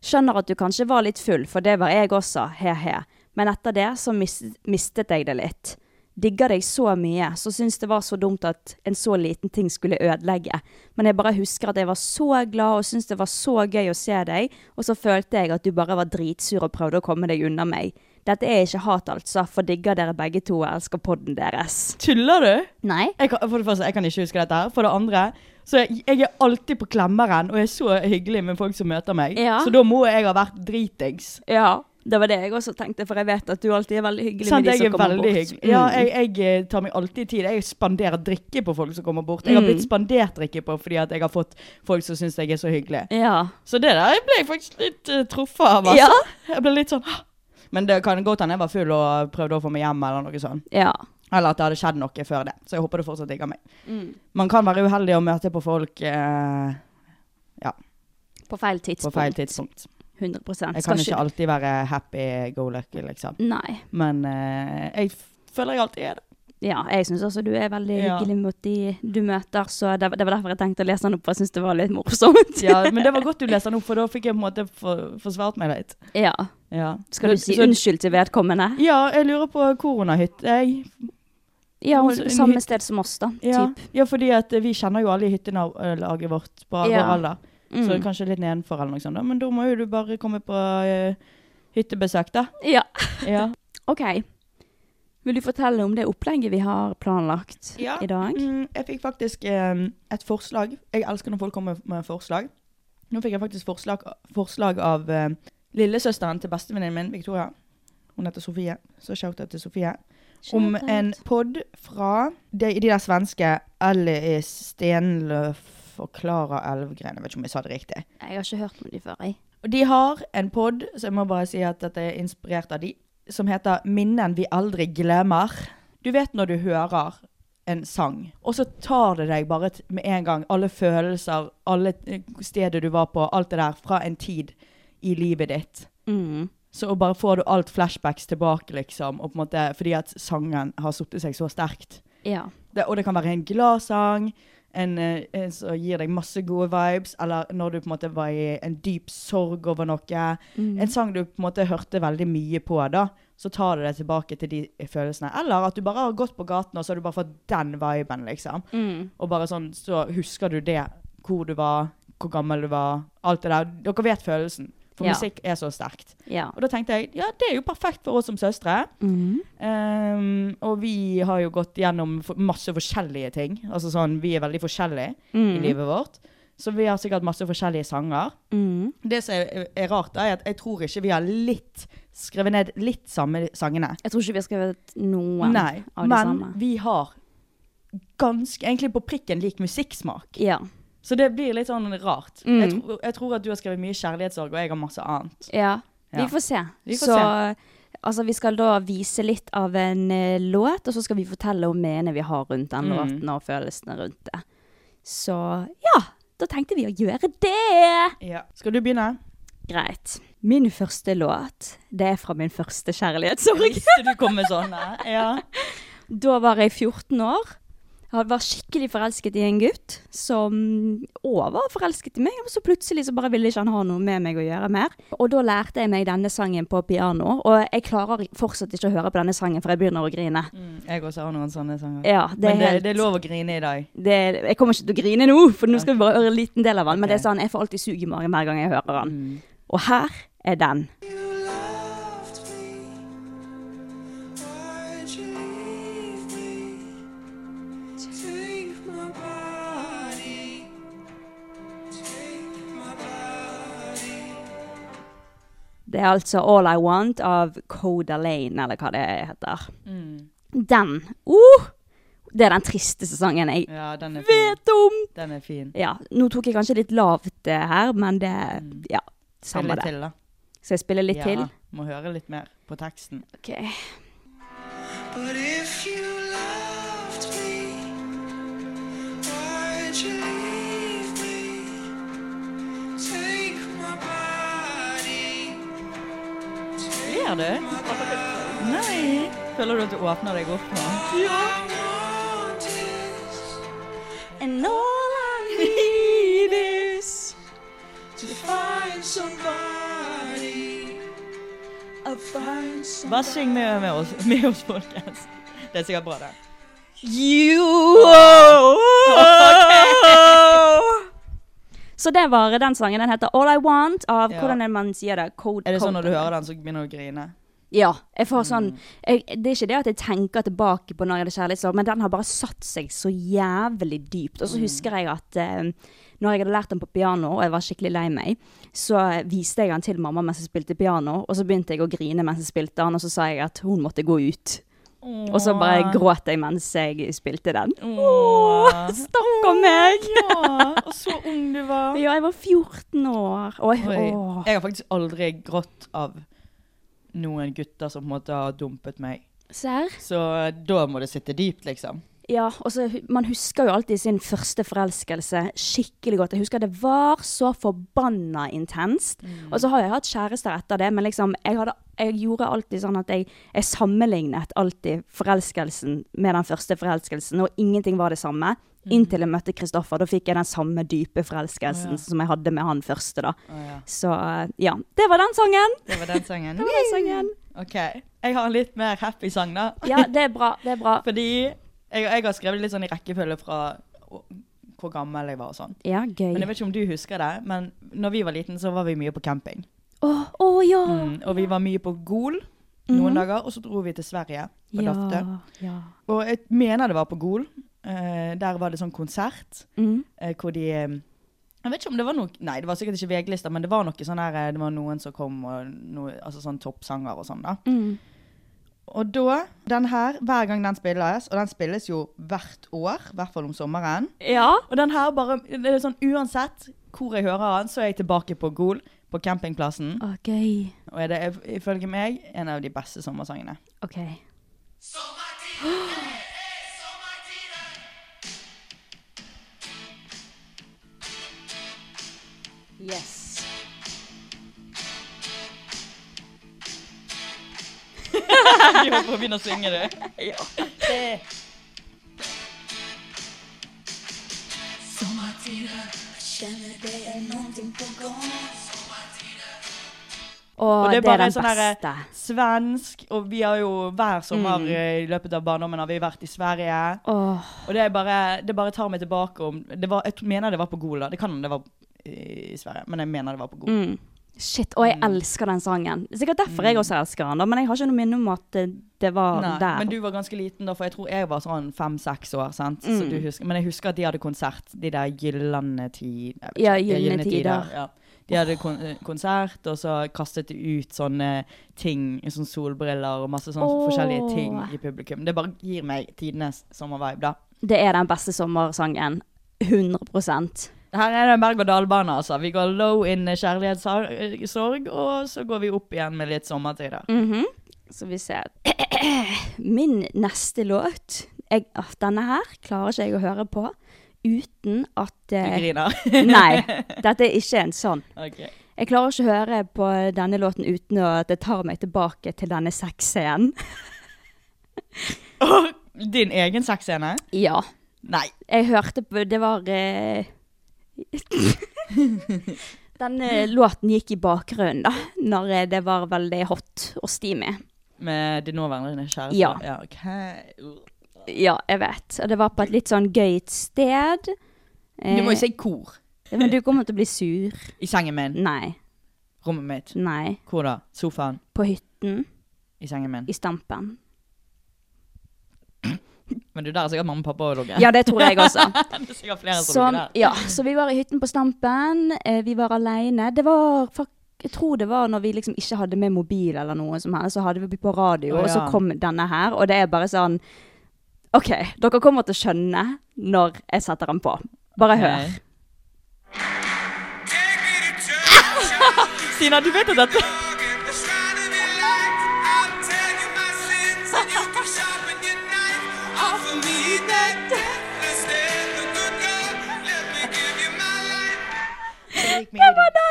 Speaker 4: Skjønner at du kanskje var litt full, for det var jeg også, he-he. Men etter det så mis mistet jeg det litt. Digger deg så mye, så syns det var så dumt at en så liten ting skulle ødelegge. Men jeg bare husker at jeg var så glad og syntes det var så gøy å se deg, og så følte jeg at du bare var dritsur og prøvde å komme deg unna meg. Dette er ikke hat, altså, for digger dere begge to og elsker podden deres.
Speaker 1: Tuller du?
Speaker 4: Nei.
Speaker 1: Jeg kan, for det første, jeg kan ikke huske dette her. For det andre, så jeg, jeg er alltid på klemmeren og er så hyggelig med folk som møter meg.
Speaker 4: Ja.
Speaker 1: Så da må jeg ha vært dritings.
Speaker 4: Ja, det var det jeg også tenkte, for jeg vet at du alltid er veldig hyggelig
Speaker 1: Sant,
Speaker 4: med de
Speaker 1: jeg
Speaker 4: som
Speaker 1: er
Speaker 4: kommer
Speaker 1: veldig
Speaker 4: bort. Mm.
Speaker 1: hyggelig. Ja, jeg, jeg eh, tar meg alltid tid. Jeg spanderer drikke på folk som kommer bort.
Speaker 4: Mm.
Speaker 1: Jeg har blitt spandert drikke på fordi at jeg har fått folk som syns jeg er så hyggelig.
Speaker 4: Ja.
Speaker 1: Så det der ble jeg faktisk litt eh, truffet av. Altså. Jeg ble litt sånn «Hå!» Men det kan godt hende jeg var full og prøvde å få meg hjem eller noe sånt.
Speaker 4: Ja.
Speaker 1: Eller at det hadde skjedd noe før det. Så jeg håper du fortsatt digger meg.
Speaker 4: Mm.
Speaker 1: Man kan være uheldig og møte på folk eh,
Speaker 4: På feil tidspunkt.
Speaker 1: på feil tidspunkt.
Speaker 4: 100
Speaker 1: Jeg
Speaker 4: Skal
Speaker 1: kan ikke alltid være happy go lucky, liksom.
Speaker 4: Nei.
Speaker 1: Men eh, jeg f- føler jeg alltid er det.
Speaker 4: Ja, jeg syns også du er veldig
Speaker 1: Ja.
Speaker 4: hyggelig mot de du møter, så det, det var derfor jeg tenkte å lese den opp, for jeg syns det var litt morsomt.
Speaker 1: Ja, men det var godt du leste den opp, for da fikk jeg på en måte for- forsvart meg litt.
Speaker 4: Ja.
Speaker 1: Ja.
Speaker 4: Skal du
Speaker 1: Så-
Speaker 4: si
Speaker 1: så-
Speaker 4: unnskyld til vedkommende?
Speaker 1: Ja, jeg lurer på hvor hun har hytte. Jeg.
Speaker 4: Ja,
Speaker 1: Hun-
Speaker 4: hun- samme sted som oss, da.
Speaker 1: Ja.
Speaker 4: Typ.
Speaker 1: ja, fordi at eh, vi kjenner jo alle i hyttelaget vårt på vår
Speaker 4: Ja. Mm.
Speaker 1: alder. Så det er kanskje litt nedenfor eller noe sånt, da. men da må jo du bare komme på eh, hyttebesøk, da.
Speaker 4: Ja.
Speaker 1: Ja.
Speaker 4: OK. Vil du fortelle om det opplegget vi har planlagt
Speaker 1: Ja.
Speaker 4: i dag?
Speaker 1: Mm, jeg fikk faktisk eh, et forslag. Jeg elsker når folk kommer med forslag. Nå fikk jeg faktisk forslag, forslag av eh, lillesøsteren til bestevenninnen min, Victoria. Hun heter Sofie, så shout-out til Sofie. Om
Speaker 4: Shoutout.
Speaker 1: en pod fra de, de der svenske Ellis Stenløf og Klara Elvgren. Jeg vet ikke om jeg sa det riktig.
Speaker 4: Jeg har ikke hørt om de før, jeg.
Speaker 1: Og de har en pod, så jeg må bare si at dette er inspirert av de, som heter 'Minnen vi aldri glemmer'. Du vet når du hører en sang, og så tar det deg bare t- med en gang alle følelser, alle eh, steder du var på, alt det der, fra en tid i livet ditt.
Speaker 4: Mm.
Speaker 1: Så bare får du alt flashbacks tilbake, liksom, og på en måte, fordi at sangen har sittet seg så sterkt.
Speaker 4: Ja.
Speaker 1: Det, og det kan være en glad sang, en, eh, en som gir deg masse gode vibes, eller når du på en måte var i en dyp sorg over noe.
Speaker 4: Mm.
Speaker 1: En sang du på en måte hørte veldig mye på da, så tar du deg tilbake til de følelsene. Eller at du bare har gått på gaten, og så har du bare fått den viben, liksom.
Speaker 4: Mm.
Speaker 1: Og bare sånn, så husker du det, hvor du var, hvor gammel du var, alt det der. Dere vet følelsen. For
Speaker 4: Ja.
Speaker 1: musikk er så sterkt.
Speaker 4: Ja.
Speaker 1: Og da tenkte jeg, ja, det er jo perfekt for oss som søstre.
Speaker 4: Mm.
Speaker 1: Ehm, og vi har jo gått gjennom for- masse forskjellige ting. Altså sånn, vi er veldig forskjellige i
Speaker 4: Mm.
Speaker 1: livet vårt. Så vi har sikkert masse forskjellige sanger.
Speaker 4: Mm.
Speaker 1: Det som er, er rart, da, er at jeg tror ikke vi har litt skrevet ned litt samme sangene.
Speaker 4: Jeg tror ikke vi har skrevet noen
Speaker 1: Nei,
Speaker 4: av de
Speaker 1: men
Speaker 4: samme.
Speaker 1: vi har ganske, egentlig på prikken lik musikksmak.
Speaker 4: Ja.
Speaker 1: Så det blir litt sånn rart. Jeg,
Speaker 4: Mm.
Speaker 1: tro, jeg tror at du har skrevet mye kjærlighetssorg, og jeg har masse annet.
Speaker 4: ja. Vi
Speaker 1: Ja.
Speaker 4: får se.
Speaker 1: Vi får
Speaker 4: så altså, vi skal da vise litt av en eh, låt, og så skal vi fortelle om menene vi har rundt
Speaker 1: Mm.
Speaker 4: den låten, og følelsene rundt det. Så ja, da tenkte vi å gjøre det!
Speaker 1: Ja. Skal du begynne?
Speaker 4: Greit. Min første låt, det er fra min første kjærlighetssorg.
Speaker 1: sånn, Visste du kom med sånne. Ja.
Speaker 4: Da var jeg 14 år. Han var skikkelig forelsket i en gutt som òg var forelsket i meg, og så plutselig så bare ville ikke han ha noe med meg å gjøre mer. Og da lærte jeg meg denne sangen på piano, og jeg klarer fortsatt ikke å høre på denne sangen, for jeg begynner å grine.
Speaker 1: Jeg også har noen sånne sanger.
Speaker 4: Ja, det er
Speaker 1: Men det,
Speaker 4: helt-
Speaker 1: det er lov å grine i dag.
Speaker 4: det, jeg kommer ikke til å grine nå, for nå skal vi bare høre en liten del av den. Men det er sånn, jeg får alltid sug i magen hver gang jeg hører den. Og her er den. Det er altså All I Want av Coda Lane, eller hva det heter.
Speaker 1: Mm.
Speaker 4: Den. Uh, det er den tristeste sangen jeg
Speaker 1: Ja, den er fin.
Speaker 4: vet om.
Speaker 1: Den er fin.
Speaker 4: Ja, nå tok jeg kanskje litt lavt eh, her, men det Ja,
Speaker 1: Spill
Speaker 4: samme
Speaker 1: Mm. litt
Speaker 4: det.
Speaker 1: til, da.
Speaker 4: Skal jeg spille litt
Speaker 1: ja,
Speaker 4: til?
Speaker 1: Må høre litt mer på teksten.
Speaker 4: Ok.
Speaker 1: Ler du? Nei. Føler du at du åpner deg opp nå?
Speaker 4: And all I need is
Speaker 1: Bare syng med, med, oss, med oss, folkens. Det er sikkert bra, det.
Speaker 4: you Så det var den sangen. Den heter All I Want av
Speaker 1: Ja.
Speaker 4: Hvordan er det man sier det? Code,
Speaker 1: Er det sånn når du Mm.
Speaker 4: Code-
Speaker 1: hører den, så begynner du å grine?
Speaker 4: Ja. Jeg får sånn jeg, Det er ikke det at jeg tenker tilbake på når jeg hadde kjærlighetssorg, men den har bare satt seg så jævlig dypt. Og
Speaker 1: Mm.
Speaker 4: så husker jeg at eh, når jeg hadde lært den på piano, og jeg var skikkelig lei meg, så eh, viste jeg den til mamma mens jeg spilte piano, og så begynte jeg å grine mens jeg spilte den, og så sa jeg at hun måtte gå ut. Og så bare gråt jeg mens jeg spilte den. Åh, stakkar meg!
Speaker 1: Ja, og så ung du var.
Speaker 4: Ja, jeg var 14 år. Og jeg,
Speaker 1: Oi.
Speaker 4: åh.
Speaker 1: Jeg har faktisk aldri grått av noen gutter som på en måte har dumpet meg.
Speaker 4: Serr?
Speaker 1: Så eh, da må det sitte dypt, liksom.
Speaker 4: Ja, og så hu- man husker jo alltid sin første forelskelse skikkelig godt. Jeg husker det var så forbanna intenst.
Speaker 1: Mm.
Speaker 4: Og så har jeg hatt kjærester etter det, men liksom, jeg, hadde, jeg gjorde alltid sånn at jeg, jeg sammenlignet alltid forelskelsen med den første forelskelsen, og ingenting var det samme. Inntil jeg møtte Kristoffer. Da fikk jeg den samme dype forelskelsen som jeg hadde med han første, da. Så ja. Det var den sangen!
Speaker 1: Det var den sangen.
Speaker 4: Det var den sangen.
Speaker 1: OK. Jeg har en litt mer happy sang, da.
Speaker 4: Ja, det er bra. Det er bra.
Speaker 1: Fordi jeg, jeg har skrevet litt sånn i rekkefølge fra å- hvor gammel jeg var og sånn.
Speaker 4: Ja, gøy.
Speaker 1: Men jeg vet ikke om du husker det, men når vi var liten, så var vi mye på camping.
Speaker 4: Å, å, ja! Mhm.
Speaker 1: Mm, og vi var mye på Gol noen dager, og så dro vi til Sverige på
Speaker 4: ja,
Speaker 1: Daftø.
Speaker 4: ja.
Speaker 1: Og jeg mener det var på Gol. Eh, der var det sånn konsert
Speaker 4: Mm.
Speaker 1: eh, hvor de eh, Jeg vet ikke om det var noe Nei, det var sikkert ikke VG-lista, men det var noe sånn her eh, Det var noen som kom, og noe, altså sånn toppsanger og sånn, da.
Speaker 4: Mm.
Speaker 1: Og da Den her, hver gang den spilles, og den spilles jo hvert år, i hvert fall om sommeren
Speaker 4: Ja.
Speaker 1: Og den her bare det er sånn Uansett hvor jeg hører den, så er jeg tilbake på Gol, på campingplassen.
Speaker 4: Å, gøy.
Speaker 1: Og er det if- ifølge meg en av de beste sommersangene.
Speaker 4: OK. Yes.
Speaker 1: Vi holdt på å begynne å synge det. Det-
Speaker 4: Og,
Speaker 1: Og det er bare sånn
Speaker 4: den
Speaker 1: her
Speaker 4: beste. Mm.
Speaker 1: svensk, og vi har jo hver sommer eh, i løpet av barndommen har vi vært i Sverige.
Speaker 4: Åh,
Speaker 1: Og det, er bare, det bare tar meg tilbake om det var, Jeg mener det var på Gol, da. Det kan hende det var i Sverige, men jeg mener det var på Gol.
Speaker 4: Mm.
Speaker 1: Mm.
Speaker 4: shit. Og jeg elsker den sangen. Sikkert derfor jeg også elsker den, da, men jeg har ikke noe minne om at eh, det var
Speaker 1: Nei,
Speaker 4: der.
Speaker 1: men du var ganske liten da, for jeg tror jeg var sånn fem-seks år. sant?
Speaker 4: Mm.
Speaker 1: Så du husker, men jeg husker at de hadde konsert, de der Gyllene tid- jeg vet ikke,
Speaker 4: Ja,
Speaker 1: de
Speaker 4: Gyllene
Speaker 1: Gyllene tider.
Speaker 4: Tider.
Speaker 1: Ja. De hadde kon eh, konsert, og så kastet de ut sånne ting, sånn solbriller og masse sånne
Speaker 4: Åh.
Speaker 1: forskjellige ting i publikum. Det bare gir meg tidenes sommervibe, da.
Speaker 4: Det er den beste sommersangen. 100
Speaker 1: Her er det en berg-og-dal-bane, altså. Vi går low in kjærlighetssorg, og så går vi opp igjen med litt sommertider.
Speaker 4: Mhm. Så vi ser Min neste låt jeg, ah, Denne her klarer ikke jeg å høre på uten at
Speaker 1: Du
Speaker 4: eh,
Speaker 1: griner.
Speaker 4: Nei, dette er ikke en sånn.
Speaker 1: Ok.
Speaker 4: Jeg klarer ikke å høre på denne låten uten at det tar meg tilbake til denne sexscenen.
Speaker 1: Din egen sexscene?
Speaker 4: Ja.
Speaker 1: Nei.
Speaker 4: Jeg hørte på Det var eh, Den
Speaker 1: Mm.
Speaker 4: eh, låten gikk i bakgrunnen, da. Når eh, det var veldig hot og steamy.
Speaker 1: Med din nåværende kjæreste?
Speaker 4: Ja.
Speaker 1: ja ok. Uh.
Speaker 4: Ja, jeg vet. Og det var på et litt sånn gøy sted. Eh,
Speaker 1: Du må jo si kor.
Speaker 4: Men du kommer til å bli sur.
Speaker 1: I sengen min.
Speaker 4: Nei.
Speaker 1: Rommet mitt.
Speaker 4: Nei.
Speaker 1: Hvor da? Sofaen.
Speaker 4: På hytten.
Speaker 1: I sengen min.
Speaker 4: I Stampen.
Speaker 1: Men du, der er sikkert mamma og pappa og ligget.
Speaker 4: Ja, det tror jeg også. Sånn,
Speaker 1: det er sikkert flere som
Speaker 4: Som,
Speaker 1: ligger der.
Speaker 4: ja, så vi var i hytten på Stampen. Eh, vi var aleine. Det var fak- jeg tror det var når vi liksom ikke hadde med mobil eller noe som helst, så hadde vi på radio,
Speaker 1: Å,
Speaker 4: og så
Speaker 1: ja.
Speaker 4: kom denne her, og det er bare sånn OK, dere kommer til å skjønne når jeg setter den på. Bare hør.
Speaker 1: Ok. Stina, du vet at dette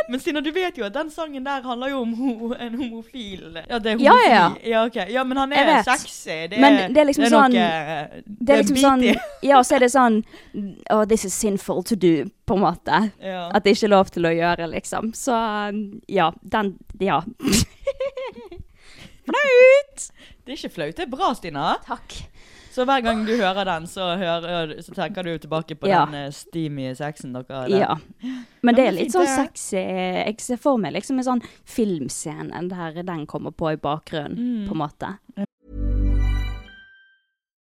Speaker 1: Men Stina, du vet jo at den sangen der handler jo om ho en homofil Ja, det er homofil.
Speaker 4: Ja, ja, ja.
Speaker 1: ok. ja men han
Speaker 4: Jeg
Speaker 1: er
Speaker 4: vet.
Speaker 1: sexy. Det er, eh,
Speaker 4: Men det er liksom sånn-
Speaker 1: noe,
Speaker 4: Det er liksom sånn
Speaker 1: beaty.
Speaker 4: Ja, og så er det sånn Oh, this is sinful to do, på en måte.
Speaker 1: Ja.
Speaker 4: At det ikke er lov til å gjøre, liksom. Så ja, den Ja. Flaut!
Speaker 1: Det er ikke flaut. Det er bra, Stina.
Speaker 4: Takk.
Speaker 1: Så hver gang du hører den, så, hører, så tenker du tilbake på
Speaker 4: Ja.
Speaker 1: den eh, steamy sexen dere hadde.
Speaker 4: Ja. Men det er
Speaker 1: men
Speaker 4: litt sånn
Speaker 1: fint, det.
Speaker 4: sexy. Jeg ser for meg liksom en sånn filmscene der den kommer på i bakgrunnen,
Speaker 1: Mm.
Speaker 4: på en måte.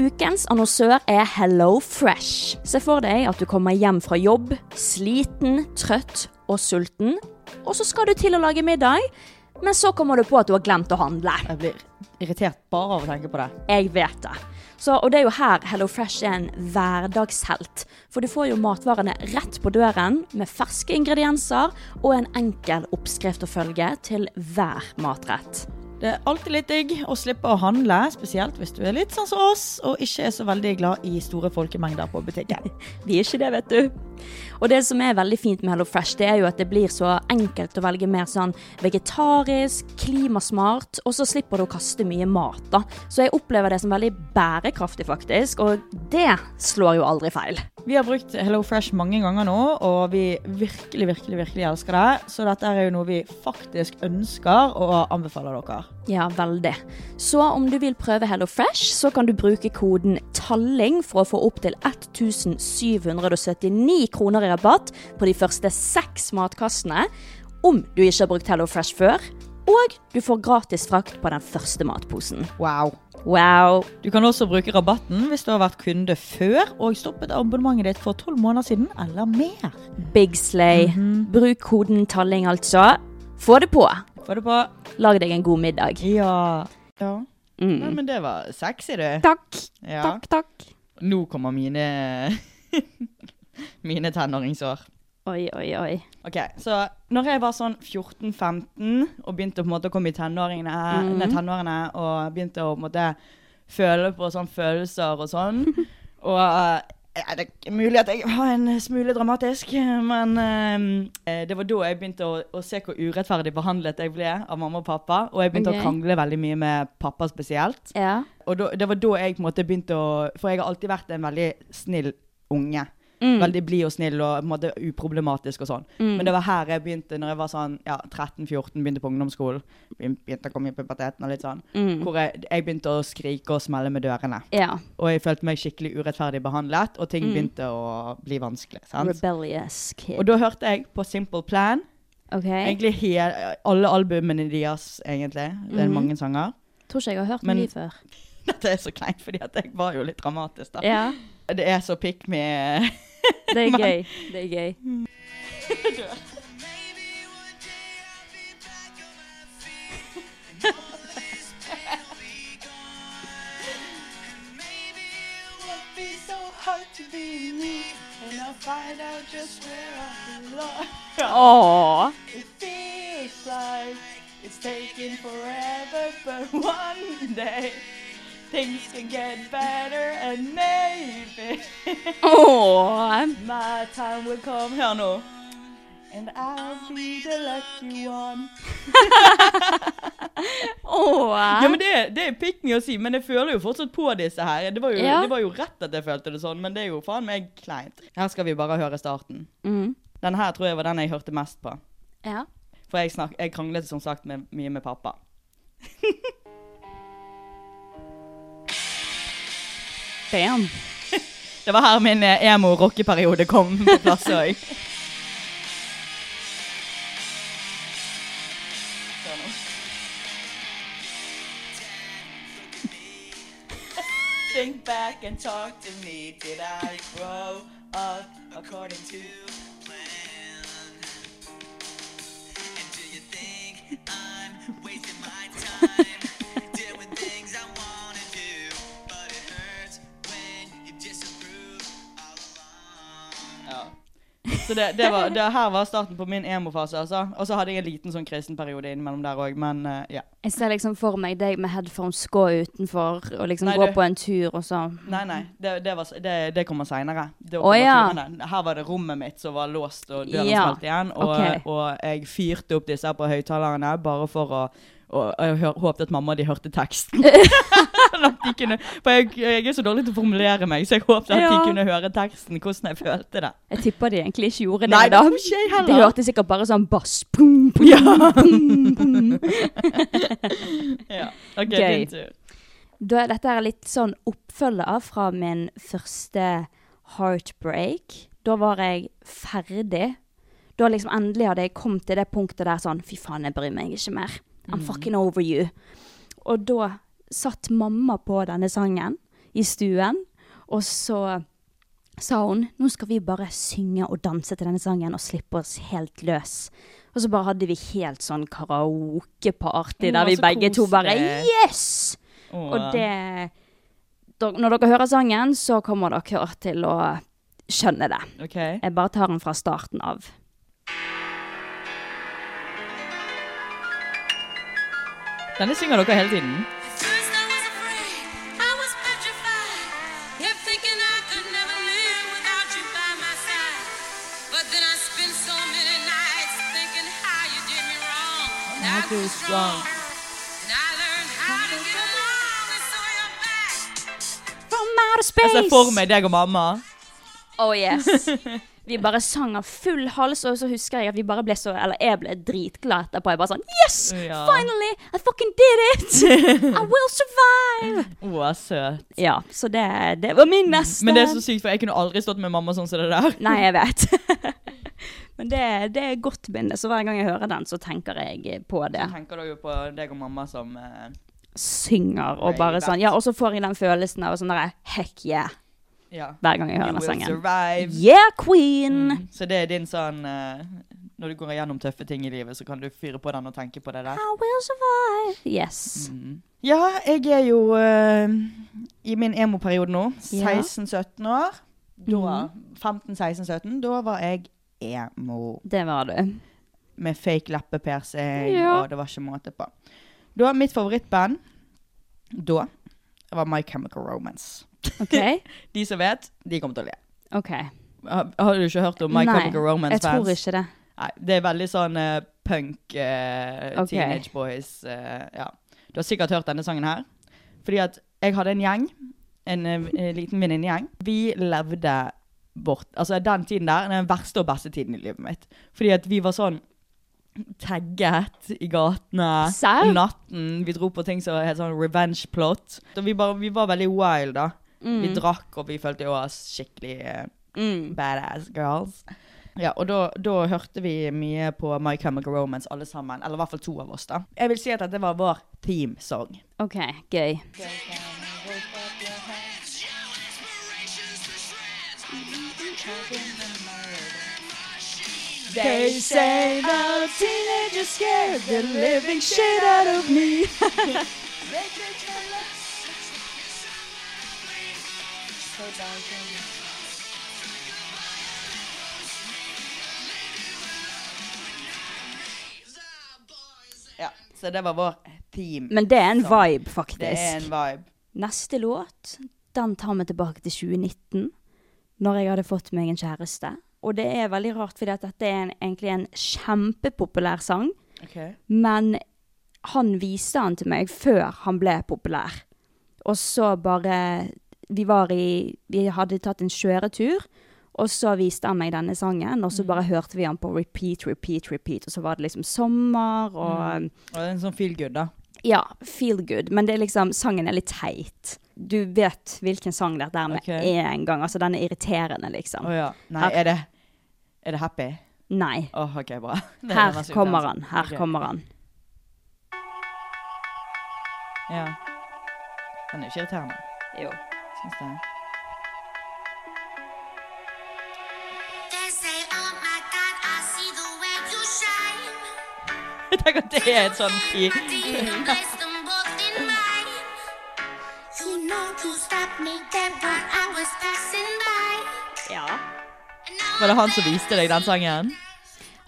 Speaker 4: Ukens annonsør er Hello Fresh. Se for deg at du kommer hjem fra jobb, sliten, trøtt og sulten, og så skal du til å lage middag, men så kommer du på at du har glemt å handle.
Speaker 1: Jeg blir irritert bare av å tenke på det.
Speaker 4: Jeg vet det. Så, og det er jo her Hello Fresh er en hverdagshelt. For du får jo matvarene rett på døren med ferske ingredienser og en enkel oppskrift å følge til hver matrett.
Speaker 1: Det er alltid litt digg å slippe å handle, spesielt hvis du er litt sånn som oss og ikke er så veldig glad i store folkemengder på butikken.
Speaker 4: Vi er ikke det, vet du. Og det som er veldig fint med Hello Fresh, det er jo at det blir så enkelt å velge mer sånn vegetarisk, klimasmart, og så slipper du å kaste mye mat, da. Så jeg opplever det som veldig bærekraftig, faktisk, og det slår jo aldri feil.
Speaker 1: Vi har brukt Hello Fresh mange ganger nå, og vi virkelig, virkelig, virkelig elsker det. Så dette er jo noe vi faktisk ønsker og anbefaler dere.
Speaker 4: Ja, veldig. Så om du vil prøve Hello Fresh, så kan du bruke koden TALLING for å få opptil 1779 kroner i rabatt på de første seks matkassene. Om du ikke har brukt Hello Fresh før, Og du får gratis frakt på den første matposen.
Speaker 1: Wow.
Speaker 4: Wow.
Speaker 1: Du kan også bruke rabatten hvis du har vært kunde før og stoppet abonnementet ditt for tolv måneder siden eller mer. Mhm.
Speaker 4: Big slay. Bruk koden talling, altså. Få det på.
Speaker 1: Få det på.
Speaker 4: Lag deg en god middag. Mm.
Speaker 1: Ja. ja. Nei, men det var sexy, du.
Speaker 4: Takk.
Speaker 1: Ja.
Speaker 4: Takk, takk.
Speaker 1: Nå kommer mine Mine tenåringsår.
Speaker 4: Oi, oi, oi.
Speaker 1: Ok, så når jeg var sånn 14-15 og begynte på en måte å komme i tenåringene,
Speaker 4: Mhm.
Speaker 1: nei, tenårene og begynte å på en måte føle på sånn følelser og sånn, og eh, det er mulig at jeg var en smule dramatisk, men eh, det var da jeg begynte å, å se hvor urettferdig behandlet jeg ble av mamma og pappa, og jeg begynte
Speaker 4: Ok.
Speaker 1: å krangle veldig mye med pappa spesielt.
Speaker 4: Ja.
Speaker 1: Og da, det var da jeg på en måte begynte å For jeg har alltid vært en veldig snill unge.
Speaker 4: Mm.
Speaker 1: Veldig blid og snill og på en måte uproblematisk og sånn. Men det var her jeg begynte, når jeg var sånn ja, 13-14, begynte på ungdomsskolen. Begyn- Begynte å komme i puberteten og litt sånn. Hvor jeg, jeg begynte å skrike og smelle med dørene.
Speaker 4: Mm. ja. Mm.
Speaker 1: Og jeg følte meg skikkelig urettferdig behandlet, og ting begynte å bli vanskelig. sant?
Speaker 4: Rebellious kid.
Speaker 1: Og da hørte jeg på Simple Plan.
Speaker 4: OK.
Speaker 1: Egentlig he- alle albumene deres, egentlig. Det er mange sanger.
Speaker 4: Mhm. tror ikke jeg har hørt
Speaker 1: Men-
Speaker 4: mye før.
Speaker 1: Dette er så kleint, fordi at jeg var jo litt dramatisk, da.
Speaker 4: Ja.
Speaker 1: Det er så pikk med
Speaker 4: Det er gøy. Det er gøy. Åh. Åh.
Speaker 1: Hør nå. And I'll be the lucky one.
Speaker 4: Åh.
Speaker 1: Ja, men det, det er pikk med å si, men jeg føler jo fortsatt på disse her. Det var, jo,
Speaker 4: Ja.
Speaker 1: det var jo rett at jeg følte det sånn, men det er jo faen meg kleint. Her skal vi bare høre starten.
Speaker 4: Mm.
Speaker 1: Den her tror jeg var den jeg hørte mest på.
Speaker 4: Ja.
Speaker 1: For jeg, snak, jeg kranglet som sagt med, mye med pappa.
Speaker 4: Bam.
Speaker 1: Det var her min eh, emo-rockeperiode kom på plass òg. Think back and talk to me. Did I grow up according to Ja. Så det, det, var, det her var starten på min emo-fase, altså. Og så hadde jeg en liten sånn kristen periode innimellom der òg, men eh, ja.
Speaker 4: Jeg ser liksom for meg deg med headphones gå utenfor og liksom
Speaker 1: Nei,
Speaker 4: gå
Speaker 1: du-
Speaker 4: på en tur og sånn.
Speaker 1: Nei, nei, det, det, var, det, det kommer seinere.
Speaker 4: Å, ja.
Speaker 1: Her var det rommet mitt som var låst, og døren
Speaker 4: Ja,
Speaker 1: smalt igjen. Og,
Speaker 4: ok.
Speaker 1: og jeg fyrte opp disse her på høyttalerne bare for å og jeg hør, håpet at mamma og de hørte teksten. Sånn at de kunne, for jeg, jeg er så dårlig til å formulere meg, så jeg håpet at de
Speaker 4: Ja.
Speaker 1: kunne høre teksten, hvordan jeg følte det.
Speaker 4: Jeg tipper de egentlig ikke gjorde det.
Speaker 1: Nei, det
Speaker 4: da.
Speaker 1: tror ikke jeg heller.
Speaker 4: De hørte sikkert bare sånn bass. Pum, pum, pum, pum.
Speaker 1: Ja. Ok,
Speaker 4: Gøy.
Speaker 1: din tur.
Speaker 4: Da, dette er litt sånn oppfølger fra min første heartbreak. Da var jeg ferdig. Da liksom endelig hadde jeg kommet til det punktet der sånn Fy faen, jeg bryr meg ikke mer. I'm
Speaker 1: Mm.
Speaker 4: fucking over you. Og da satt mamma på denne sangen i stuen, og så sa hun nå skal vi bare synge og danse til denne sangen og slippe oss helt løs. Og så bare hadde vi helt sånn karaokeparty
Speaker 1: Å,
Speaker 4: der vi
Speaker 1: så
Speaker 4: begge to bare
Speaker 1: Mm, altså, koselig.
Speaker 4: Yes! Og det da- Når dere hører sangen, så kommer dere til å skjønne det.
Speaker 1: Ok.
Speaker 4: Jeg bare tar den fra starten av.
Speaker 1: Denne synger dere hele tiden.
Speaker 4: From outer space!
Speaker 1: Jeg ser for meg deg og mamma.
Speaker 4: Oh yes. Vi bare sang av full hals, og så husker jeg at vi bare ble så Eller jeg ble dritglad etterpå. Jeg bare sånn Yes!
Speaker 1: Ja.
Speaker 4: Finally! I fucking did it! I will survive!
Speaker 1: Å, søt.
Speaker 4: Ja, så det, det var min neste.
Speaker 1: Men det er så sykt, for jeg kunne aldri stått med mamma sånn som det der.
Speaker 4: Nei, jeg vet. Men Men det, det er godt minne, så hver gang jeg hører den, så tenker jeg på det.
Speaker 1: Så tenker du jo på deg og mamma som eh,
Speaker 4: Synger og
Speaker 1: Way
Speaker 4: bare
Speaker 1: back.
Speaker 4: sånn. Ja, og så får jeg den følelsen av sånn derre heck yeah,
Speaker 1: Ja.
Speaker 4: hver gang jeg hører
Speaker 1: You
Speaker 4: den
Speaker 1: will
Speaker 4: sangen.
Speaker 1: survive.
Speaker 4: Yeah, queen!
Speaker 1: Mm. Så det er din sånn eh, Når du går igjennom tøffe ting i livet, så kan du fyre på den og tenke på det der. Mm.
Speaker 4: I will survive. Yes.
Speaker 1: Ja, jeg er jo eh, i min emo-periode nå.
Speaker 4: Ja. Mm.
Speaker 1: 16-17 år. Da, 15-16-17, da var jeg emo.
Speaker 4: Det var du.
Speaker 1: Med fake leppepiercing,
Speaker 4: Ja.
Speaker 1: og det var ikke måte på. Da, mitt favorittband da var My Chemical Romance.
Speaker 4: OK?
Speaker 1: De som vet, de kommer til å le.
Speaker 4: OK.
Speaker 1: Har, har du ikke hørt om My Chemical
Speaker 4: jeg
Speaker 1: Romance-fans?
Speaker 4: tror ikke det.
Speaker 1: Nei, det er veldig sånn eh, punk, eh,
Speaker 4: Ok.
Speaker 1: teenage boys, eh, ja. Du har sikkert hørt denne sangen her. Fordi at jeg hadde en gjeng, en, eh, en liten venninnegjeng. Vi levde vårt, altså den tiden der, den verste og beste tiden i livet mitt. Fordi at vi var sånn tagget i gatene,
Speaker 4: Sau?
Speaker 1: natten. Vi dro på ting som het sånn revenge plot. Så vi, bare, vi var veldig wild da. Vi drakk, og vi følte jo oss skikkelig... eh,
Speaker 4: Mm.
Speaker 1: Badass girls. Ja, og da, da hørte vi mye på My Chemical Romance alle sammen. Eller i hvert fall to av oss, da. Jeg vil si at dette var vår themesong.
Speaker 4: OK, gøy.
Speaker 1: They say the teenagers scared the living shit out of me. ja, så det var vår theme.
Speaker 4: Men det er en
Speaker 1: song.
Speaker 4: vibe, faktisk.
Speaker 1: Det er en vibe.
Speaker 4: Neste låt, den tar meg tilbake til 2019, når jeg hadde fått meg en kjæreste. Og det er veldig rart, fordi at dette er en, egentlig en kjempepopulær sang, men han viste den til meg før han ble populær. Og så bare Vi var i Vi hadde tatt en kjøretur, og så viste han meg denne sangen, og så bare hørte vi han på repeat, repeat, repeat, og så var det liksom sommer og eh,
Speaker 1: Og det er en sånn feel good, da.
Speaker 4: ja, feel good, men det er liksom, sangen er litt teit. Du vet hvilken sang dette er med
Speaker 1: Ok.
Speaker 4: en gang. Altså, den er irriterende, liksom.
Speaker 1: Å ja. Nei,
Speaker 4: Her-
Speaker 1: er det, er det happy?
Speaker 4: Nei.
Speaker 1: Åh, OK, bra. Det er
Speaker 4: Her
Speaker 1: den mest
Speaker 4: kommer
Speaker 1: intense.
Speaker 4: han. Her
Speaker 1: Ok.
Speaker 4: kommer han.
Speaker 1: Ja. Den er ikke irriterende,
Speaker 4: Jo.
Speaker 1: syns jeg. Jeg tenker at det er et sånn i
Speaker 4: Ja.
Speaker 1: Var det han som viste deg den sangen?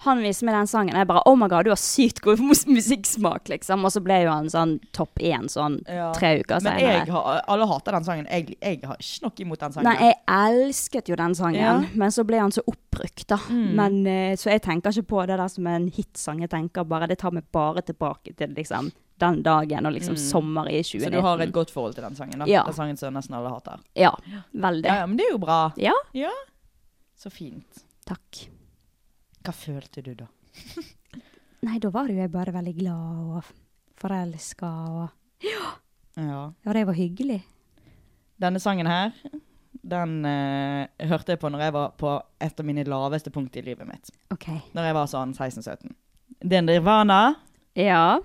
Speaker 4: Han viser meg den sangen, og jeg bare Oh my god, du har sykt god mus- musikksmak, liksom. Og så ble jo han sånn topp én sånn tre uker
Speaker 1: Men jeg
Speaker 4: senere.
Speaker 1: har, alle hater den sangen. Jeg, jeg har ikke noe imot den sangen.
Speaker 4: Nei, jeg elsket jo den sangen,
Speaker 1: Ja. Mm.
Speaker 4: men så ble han så oppbrukt, da. Men, eh, så jeg tenker ikke på det der som en hitsang. Jeg tenker bare Det tar meg bare tilbake til liksom den dagen, og liksom sommer i 2019.
Speaker 1: Mm. så du har et godt forhold til den sangen? da?
Speaker 4: Ja.
Speaker 1: Den sangen som nesten alle hater.
Speaker 4: Ja, veldig.
Speaker 1: Ja, ja, men det er jo bra.
Speaker 4: Ja,
Speaker 1: Ja. Så fint.
Speaker 4: takk.
Speaker 1: Hva følte du da?
Speaker 4: Nei, da var jo jeg bare veldig glad og forelska, og
Speaker 1: Ja.
Speaker 4: Ja, det var hyggelig.
Speaker 1: Denne sangen her, den eh, hørte jeg på når jeg var på et av mine laveste punkt i livet mitt.
Speaker 4: OK.
Speaker 1: Når jeg var sånn 16-17. Det er Nirvana.
Speaker 4: Ja.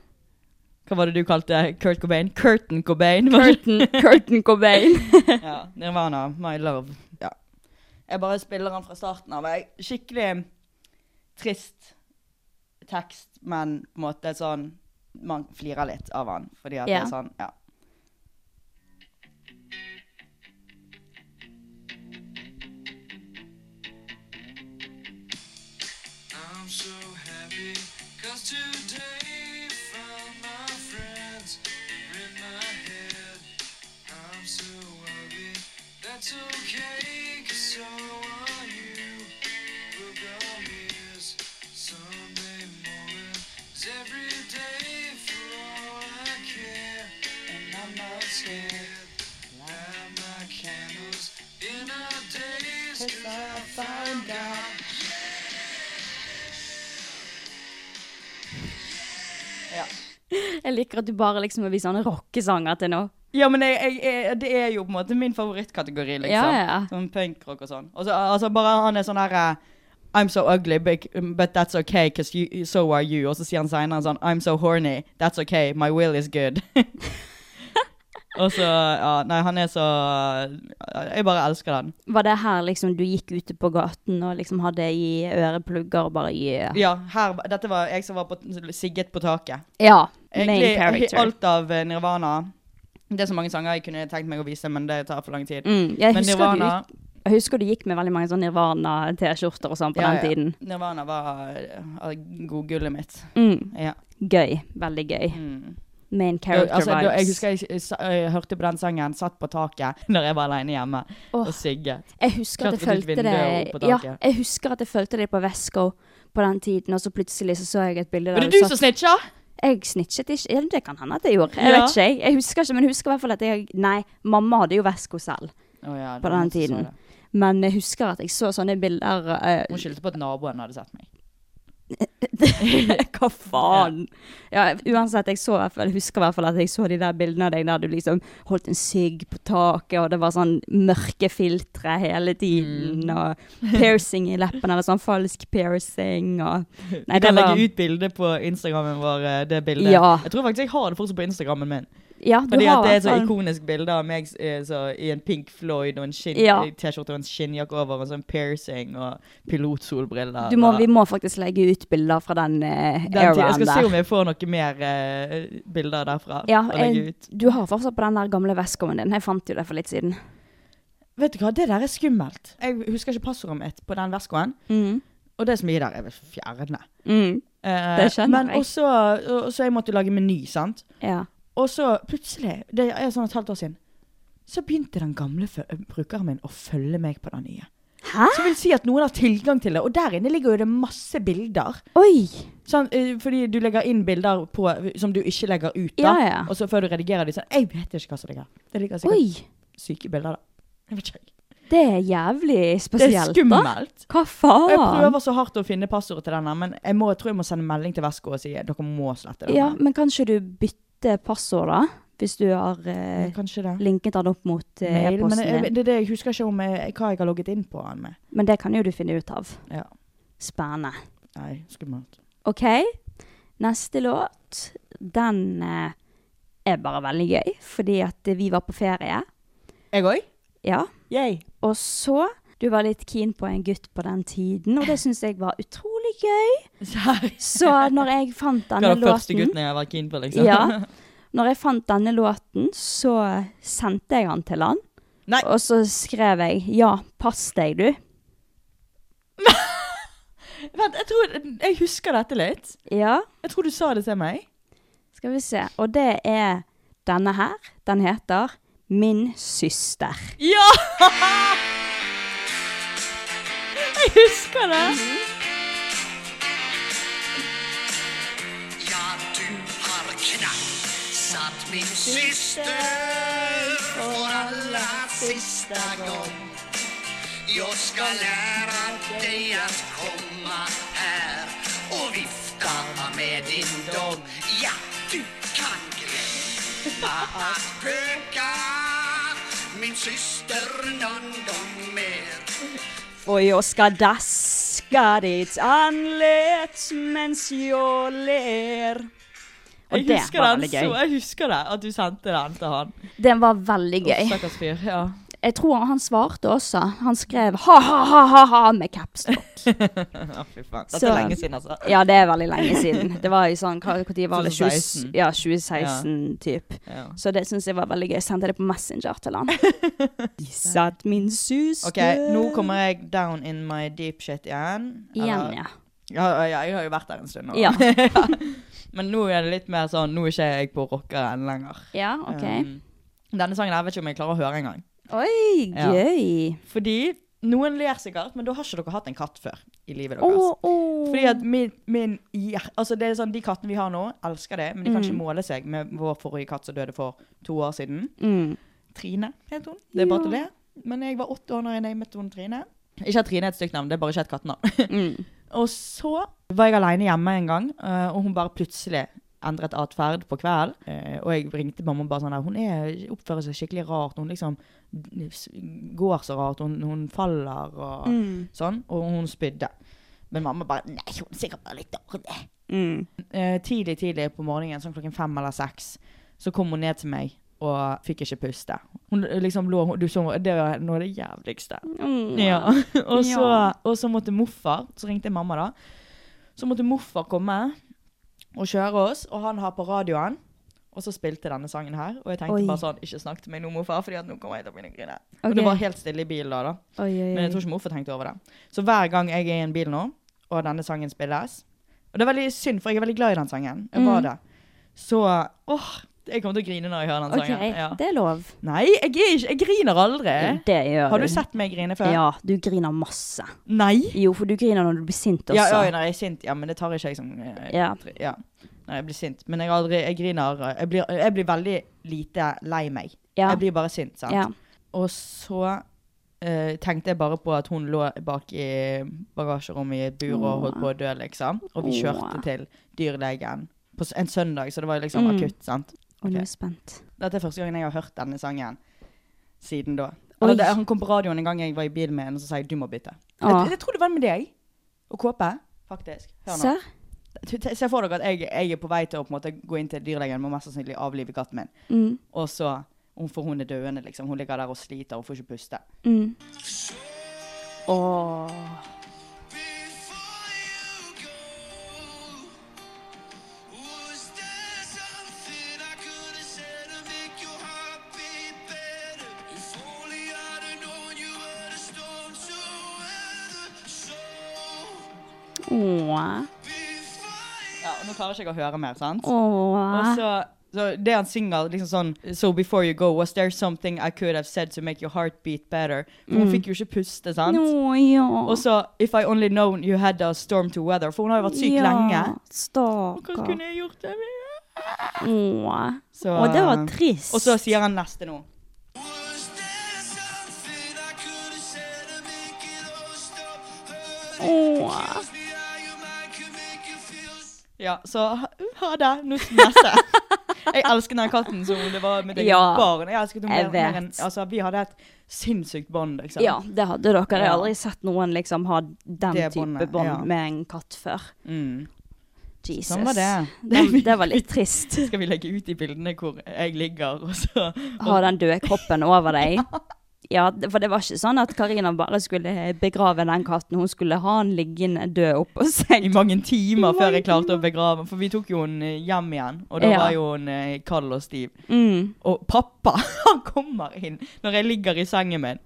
Speaker 1: Hva var det du kalte Kurt Cobain? Curtain Cobain. var det?
Speaker 4: Curtain, curtain Cobain.
Speaker 1: ja, Nirvana, My Love. Ja. Jeg bare spiller den fra starten av. Jeg, skikkelig trist tekst, men på en måte sånn Man flirer litt av den, fordi at
Speaker 4: Ja.
Speaker 1: det er sånn Ja.
Speaker 4: Jeg liker at du bare liksom vil sånne rockesanger til nå.
Speaker 1: Ja, men jeg, jeg, jeg, det er jo på en måte min favorittkategori, liksom.
Speaker 4: Ja, ja.
Speaker 1: Sånn punkrock og sånn. Og så, altså, bare han er sånn her eh, I'm so ugly, but, but that's okay, because you, so are you. Og så sier han seinere sånn I'm so horny, that's okay, my will is good. og så Ja, nei, han er så eh, Jeg bare elsker den.
Speaker 4: Var det her liksom du gikk ute på gaten og liksom hadde i øreplugger og bare yeah.
Speaker 1: Ja, her Dette var jeg som var på, sigget på taket.
Speaker 4: Ja. Main
Speaker 1: Egentlig
Speaker 4: character.
Speaker 1: alt av eh, Nirvana Det er så mange sanger jeg kunne tenkt meg å vise, men det tar for lang tid.
Speaker 4: Mm, jeg,
Speaker 1: men
Speaker 4: husker
Speaker 1: Nirvana
Speaker 4: du, jeg husker du gikk med veldig mange sånne Nirvana-T-skjorter og sånn på
Speaker 1: ja,
Speaker 4: den tiden.
Speaker 1: Ja. Nirvana var eh, godgullet mitt.
Speaker 4: Mm.
Speaker 1: Ja.
Speaker 4: Gøy. Veldig gøy.
Speaker 1: Mm.
Speaker 4: Main character
Speaker 1: Altså, da, jeg
Speaker 4: vibes.
Speaker 1: husker jeg, jeg, sa- eh, jeg hørte på den sangen, satt på taket når jeg var alene hjemme
Speaker 4: Åh.
Speaker 1: og sigget.
Speaker 4: Jeg husker at jeg
Speaker 1: Klatre ut
Speaker 4: følte
Speaker 1: vinduet og opp på
Speaker 4: det ja,
Speaker 1: taket.
Speaker 4: jeg husker at jeg følte det på Vesco på den tiden, og så plutselig så, så jeg et bilde
Speaker 1: Var
Speaker 4: der
Speaker 1: det du som snitcha?
Speaker 4: Jeg snitchet ikke. Ja, det kan hende at jeg gjorde. Jeg
Speaker 1: Ja.
Speaker 4: vet ikke, jeg. Jeg husker ikke, men jeg husker i hvert fall at jeg Nei, mamma hadde jo Vesco selv
Speaker 1: Å ja, det
Speaker 4: på
Speaker 1: var
Speaker 4: den
Speaker 1: jeg som så
Speaker 4: tiden.
Speaker 1: det.
Speaker 4: Men jeg husker at jeg så sånne bilder eh,
Speaker 1: Hun skyldte på at naboen hadde sett meg.
Speaker 4: Hva faen? Ja, uansett, jeg, så, i hvert fall- jeg husker i hvert fall at jeg så de der bildene av deg der du liksom holdt en sigg på taket, og det var sånn mørke filtre hele tiden,
Speaker 1: Mm.
Speaker 4: og piercing i leppene, eller sånn falsk piercing, og Nei,
Speaker 1: Vi kan
Speaker 4: det var-
Speaker 1: legge ut bilde på Instagrammen vår. eh, det bildet.
Speaker 4: Ja.
Speaker 1: Jeg tror faktisk jeg har det fortsatt på Instagrammen min.
Speaker 4: Ja, du
Speaker 1: Fordi
Speaker 4: har sånn. i
Speaker 1: at det er
Speaker 4: hvert
Speaker 1: et så
Speaker 4: fall-
Speaker 1: ikonisk bilde av meg eh, så, i en Pink Floyd og en skinn-
Speaker 4: Ja.
Speaker 1: T-skjorte og en skinnjakke over, og så en piercing og pilotsolbriller.
Speaker 4: Du må,
Speaker 1: og-
Speaker 4: vi må faktisk legge ut bilder fra den uh,
Speaker 1: Den tid- Jeg
Speaker 4: eraen
Speaker 1: skal se om
Speaker 4: der.
Speaker 1: jeg får noen mer eh, bilder derfra.
Speaker 4: Ja,
Speaker 1: å legge
Speaker 4: jeg,
Speaker 1: ut.
Speaker 4: du har fortsatt på den der gamle veskoen din. Jeg fant jo det for litt siden.
Speaker 1: Vet du hva, det der er skummelt. Jeg husker ikke passordet mitt på den veskoen.
Speaker 4: Mm.
Speaker 1: Og det som er der, er vel fjerne. Eh,
Speaker 4: Det skjønner
Speaker 1: men
Speaker 4: jeg.
Speaker 1: også, og- og så jeg måtte lage meny, sant.
Speaker 4: Ja.
Speaker 1: Og så plutselig, det er sånn et halvt år siden, så begynte den gamle fø- eh, brukeren min å følge meg på den nye.
Speaker 4: Hæ?
Speaker 1: Så vil si at noen har tilgang til det, og der inne ligger jo det masse bilder.
Speaker 4: Oi!
Speaker 1: Sånn, eh, fordi du legger inn bilder på, som du ikke legger ut da.
Speaker 4: Ja, ja.
Speaker 1: Og så før du redigerer de sånn, jeg vet ikke hva som ligger. Det ligger sikkert
Speaker 4: Oi!
Speaker 1: syke bilder da. Jeg vet ikke.
Speaker 4: Det er jævlig
Speaker 1: Det er
Speaker 4: spesielt, da.
Speaker 1: skummelt.
Speaker 4: Hva
Speaker 1: Og jeg
Speaker 4: faen?
Speaker 1: prøver så hardt å finne passordet til denne, men jeg, må, jeg tror jeg må sende melding til Vesko og si, eh, dere må slette den.
Speaker 4: Ja, men kanskje du bytter passord, da? Hvis du har eh,
Speaker 1: Kanskje det.
Speaker 4: linket den opp mot eh,
Speaker 1: Mm. Mail, men
Speaker 4: e-posten
Speaker 1: jeg,
Speaker 4: din.
Speaker 1: det er det jeg husker ikke om jeg, hva jeg har logget inn på den med.
Speaker 4: Men det kan jo du finne ut av.
Speaker 1: Ja.
Speaker 4: Spennende.
Speaker 1: Nei, skummelt.
Speaker 4: OK, neste låt. Den eh, er bare veldig gøy, fordi at eh, vi var på ferie.
Speaker 1: Jeg òg?
Speaker 4: Ja.
Speaker 1: Yay.
Speaker 4: Og så Du var litt keen på en gutt på den tiden, og det syns jeg var utrolig gøy.
Speaker 1: Serr.
Speaker 4: Så når jeg fant
Speaker 1: Hva
Speaker 4: denne
Speaker 1: var første
Speaker 4: låten
Speaker 1: gutten jeg var keen på, liksom?
Speaker 4: Ja. Når jeg fant denne låten, så sendte jeg han til han.
Speaker 1: Nei.
Speaker 4: Og så skrev jeg 'Ja, pass deg, du'.
Speaker 1: Vent, jeg tror Jeg husker dette litt.
Speaker 4: Ja,
Speaker 1: Jeg tror du sa det til meg.
Speaker 4: skal vi se. Og det er denne her. Den heter 'Min søster'.
Speaker 1: Ja! Jeg husker det.
Speaker 4: Og jeg skal daske ditt andlet mens jeg ler. Og
Speaker 1: Jeg
Speaker 4: det
Speaker 1: husker
Speaker 4: var
Speaker 1: den
Speaker 4: veldig
Speaker 1: så
Speaker 4: gøy.
Speaker 1: Jeg husker det, at du sendte den til han.
Speaker 4: Den var veldig
Speaker 1: Å,
Speaker 4: gøy.
Speaker 1: Stakkars fyr. Ja.
Speaker 4: Jeg tror han svarte også. Han skrev 'ha-ha-ha-ha' med caps lock.
Speaker 1: Å, fy faen.
Speaker 4: Så-
Speaker 1: Dette er lenge siden, altså.
Speaker 4: Ja, det er veldig lenge siden. Det var i sånn, hva, hvor tid var det?
Speaker 1: 2016.
Speaker 4: 20, ja, 2016 typ.
Speaker 1: Ja.
Speaker 4: Så det synes jeg var veldig gøy. Jeg sendte det på Messenger til han. De satt min søster.
Speaker 1: OK, nå kommer jeg down in my deep shit igjen.
Speaker 4: Igjen,
Speaker 1: Eller-
Speaker 4: ja.
Speaker 1: Ja, ja, jeg har jo vært der en stund nå.
Speaker 4: Ja.
Speaker 1: Men nå er det litt mer sånn Nå er ikke jeg på rockeren lenger.
Speaker 4: Ja, ok.
Speaker 1: Um, denne sangen her vet ikke om jeg klarer å høre engang.
Speaker 4: Oi,
Speaker 1: Ja.
Speaker 4: gøy.
Speaker 1: Fordi noen ler sikkert, men da har ikke dere hatt en katt før i livet
Speaker 4: Åh,
Speaker 1: deres.
Speaker 4: åh.
Speaker 1: Fordi at min, min hjer- altså det er sånn, De kattene vi har nå, elsker det, men de kan ikke måle seg med vår forrige katt som døde for to år siden.
Speaker 4: Mm.
Speaker 1: Trine het hun. Det er bare til det. Men jeg var åtte år når jeg namet hun Trine. Ikke at Trine er et stygt navn, det er bare ikke et kattenavn.
Speaker 4: Mm.
Speaker 1: og så var jeg aleine hjemme en gang, eh, og hun bare plutselig endret atferd på kvelden. Eh, Og jeg ringte mamma og bare sånn der, Hun er, oppfører seg skikkelig rart. Hun liksom går så rart. Hun, hun faller og sånn. Og hun spydde. Men mamma bare Nei, hun er sikkert bare litt dårlig. Eh, tidlig, tidlig på morgenen, sånn klokken fem eller seks, så kom hun ned til meg og fikk ikke puste. Hun liksom lå hun- Du så hun- Det var noe av det jævligste. Ja. Og så, og så måtte morfar Så ringte jeg mamma, da. Så måtte morfar komme og kjøre oss, og han har på radioen. Og så spilte denne sangen her, og jeg tenkte
Speaker 4: Oi.
Speaker 1: bare sånn Ikke snakk til meg nå, morfar, Fordi at nå kommer jeg til å begynne å grine.
Speaker 4: Ok.
Speaker 1: Og det var helt stille i bilen da, da.
Speaker 4: Oi, oi,
Speaker 1: Men jeg tror ikke morfar tenkte over det. Så hver gang jeg er i en bil nå, og denne sangen spilles Og det er veldig synd, for jeg er veldig glad i den sangen. Jeg
Speaker 4: Mm.
Speaker 1: var det. Så åh, jeg kommer til å grine når jeg hører den
Speaker 4: OK,
Speaker 1: sangen. Ja.
Speaker 4: det er lov.
Speaker 1: Nei, jeg, er ikke, jeg griner aldri.
Speaker 4: Det gjør
Speaker 1: Har du sett meg grine før?
Speaker 4: Ja, du griner masse.
Speaker 1: Nei?
Speaker 4: Jo, for du griner når du blir sint også.
Speaker 1: Ja, ja, når jeg er sint. Ja, men det tar ikke jeg som eh,
Speaker 4: Ja.
Speaker 1: ja. Når jeg blir sint. Men jeg, aldri, jeg griner eh, jeg blir, jeg blir veldig lite lei meg.
Speaker 4: Ja.
Speaker 1: Jeg blir bare sint, sant.
Speaker 4: Ja.
Speaker 1: Og så eh, tenkte jeg bare på at hun lå bak i bagasjerommet i et bur og holdt på å dø, liksom. Og vi kjørte
Speaker 4: Åh.
Speaker 1: til dyrlegen på s- en søndag, så det var jo liksom akutt, sant.
Speaker 4: Og nå er
Speaker 1: Ok.
Speaker 4: jeg spent.
Speaker 1: Dette er første gangen jeg har hørt denne sangen siden da.
Speaker 4: Oi.
Speaker 1: Eller, det, han kom på radioen en gang jeg var i bil med en, og så sa jeg du må bytte.
Speaker 4: Ah.
Speaker 1: Jeg, jeg tror det var med deg og Kåpe, faktisk. Hør nå.
Speaker 4: Serr?
Speaker 1: T- t- Se for dere at jeg, jeg er på vei til å på en måte, gå inn til dyrlegen og mest sannsynlig avlive katten min. Og så hun- For hun er døende, liksom. Hun ligger der og sliter og får ikke puste.
Speaker 4: Mm. Åh.
Speaker 1: Ja, og Nå klarer ikke jeg å høre mer, sant? Og
Speaker 4: Åh.
Speaker 1: så, så det han synger, liksom sånn So before you go, was there something I could have said to make your heart beat better? For Hun fikk jo ikke puste, sant?
Speaker 4: Mm. Nå, ja.
Speaker 1: Og så If I only known you had a storm to weather. For hun har jo vært syk
Speaker 4: ja.
Speaker 1: lenge. Hva
Speaker 4: Stakkar.
Speaker 1: kunne jeg gjort det med?
Speaker 4: Åh.
Speaker 1: Så- eh,
Speaker 4: Åh, det var trist.
Speaker 1: Og så sier han neste nå.
Speaker 4: Åh.
Speaker 1: Ja, så ha ha det. Nå neste. Jeg elsker den katten som det var med deg
Speaker 4: Ja,
Speaker 1: barn. Jeg elsket henne
Speaker 4: jeg
Speaker 1: mer, mer enn
Speaker 4: vet.
Speaker 1: Altså, vi hadde et sinnssykt bånd, liksom.
Speaker 4: Ja, det hadde dere. Jeg har
Speaker 1: Ja.
Speaker 4: aldri sett noen liksom ha den
Speaker 1: Det
Speaker 4: type
Speaker 1: båndet,
Speaker 4: bånd
Speaker 1: ja.
Speaker 4: med en katt før.
Speaker 1: Mm.
Speaker 4: Jesus.
Speaker 1: Sånn var det.
Speaker 4: det. Det var litt trist.
Speaker 1: Skal vi legge ut de bildene hvor jeg ligger, og så
Speaker 4: Ha den døde kroppen over deg. Ja, det- for det var ikke sånn at Karina bare skulle begrave den katten. Hun skulle ha han liggende død oppå
Speaker 1: I
Speaker 4: seg.
Speaker 1: mange timer før jeg klarte å begrave For vi tok jo henne hjem igjen, og da
Speaker 4: Ja.
Speaker 1: var jo hun eh, kald og stiv.
Speaker 4: Mm.
Speaker 1: Og pappa, han kommer inn når jeg ligger i sengen min.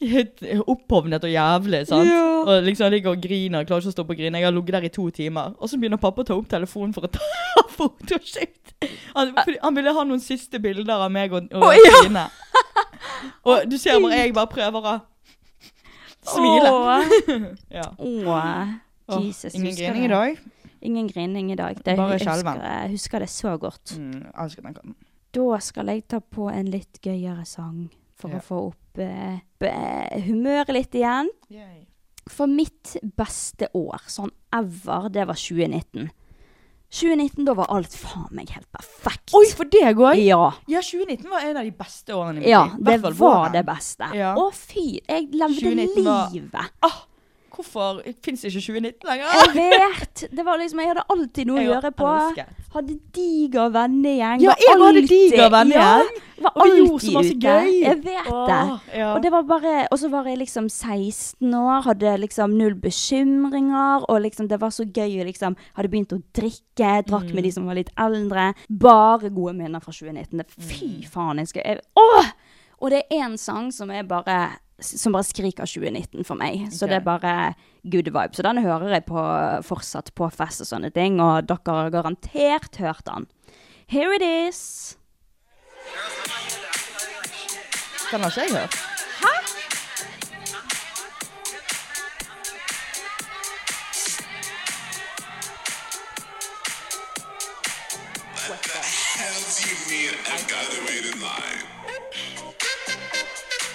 Speaker 1: Helt opphovnet og jævlig, sant?
Speaker 4: Ja.
Speaker 1: Og liksom jeg ligger og griner, klarer ikke å stoppe å grine. Jeg har ligget der i to timer. Og så begynner pappa å ta opp telefonen for å ta fotoshoot. Han, fordi han ville ha noen siste bilder av meg og, og
Speaker 4: Å, ja.
Speaker 1: Trine. Og du ser bare jeg bare prøver å smile. Ja.
Speaker 4: Åh.
Speaker 1: Åh,
Speaker 4: Jesus,
Speaker 1: ingen
Speaker 4: husker
Speaker 1: grining i
Speaker 4: det.
Speaker 1: dag.
Speaker 4: Ingen grining i dag. Det
Speaker 1: Bare
Speaker 4: husker,
Speaker 1: skjelven.
Speaker 4: jeg husker det så godt.
Speaker 1: Mm, jeg elsker den katten.
Speaker 4: Da skal jeg ta på en litt gøyere sang for
Speaker 1: Ja.
Speaker 4: å få opp eh, be- humøret litt igjen. For mitt beste år, sånn ever, det var 2019. 2019, da var alt faen meg helt perfekt.
Speaker 1: Oi, for deg òg?
Speaker 4: Ja,
Speaker 1: Ja, 2019 var en av de beste årene i mitt
Speaker 4: ja
Speaker 1: liv. I
Speaker 4: det
Speaker 1: hvert fall
Speaker 4: var
Speaker 1: våren.
Speaker 4: det beste.
Speaker 1: Ja.
Speaker 4: Å fy, jeg levde
Speaker 1: 2019 var-
Speaker 4: livet.
Speaker 1: Ah, hvorfor fins ikke 2019
Speaker 4: Jeg
Speaker 1: lenger?
Speaker 4: vet! Det var liksom, Jeg hadde alltid noe å
Speaker 1: Jeg
Speaker 4: gjøre på.
Speaker 1: elsket.
Speaker 4: Hadde diger vennegjeng.
Speaker 1: Ja,
Speaker 4: var
Speaker 1: jeg hadde
Speaker 4: alltid-
Speaker 1: diger vennegjeng.
Speaker 4: Ja, var
Speaker 1: Og vi gjorde så
Speaker 4: alltid
Speaker 1: masse
Speaker 4: ute.
Speaker 1: gøy.
Speaker 4: Jeg vet det.
Speaker 1: Åh, ja.
Speaker 4: Og det var bare, og så var jeg liksom 16 år, hadde liksom null bekymringer, og liksom det var så gøy å liksom Hadde begynt å drikke, drakk
Speaker 1: Mm.
Speaker 4: med de som var litt eldre. Bare gode minner fra
Speaker 1: Mm.
Speaker 4: 2019. Det- Fy faen, jeg skal jeg, Åh! Og det er én sang som er bare som bare skriker 2019 for meg. Så det er bare good vibe. Så den hører jeg på, fortsatt på fest og sånne ting, og dere har garantert hørt den. Here it is.
Speaker 1: Den har ikke jeg hørt.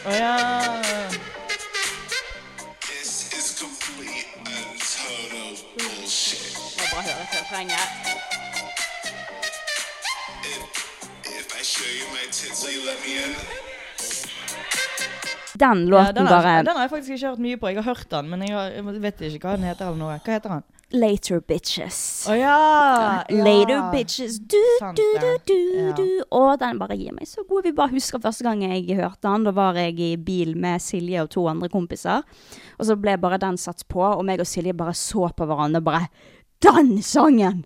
Speaker 1: Å ja.
Speaker 4: Må bare høre refrenget.
Speaker 5: If I show you my tits, will you let me in?
Speaker 4: Den
Speaker 1: Ja,
Speaker 4: låten
Speaker 1: den, har,
Speaker 4: bare
Speaker 1: den har jeg faktisk ikke hørt mye på. Jeg har hørt den, men jeg, har, jeg vet ikke hva den heter. eller noe. Hva heter den?
Speaker 4: Later Bitches.
Speaker 1: Å ja! ja.
Speaker 4: Later Bitches. Du,
Speaker 1: Sant
Speaker 4: du, du,
Speaker 1: det.
Speaker 4: du,
Speaker 1: Ja.
Speaker 4: du. Og den bare gir meg så god. Vi bare husker første gang jeg hørte den. Da var jeg i bil med Silje og to andre kompiser. Og så ble bare den satt på, og meg og Silje bare så på hverandre og bare Den sangen!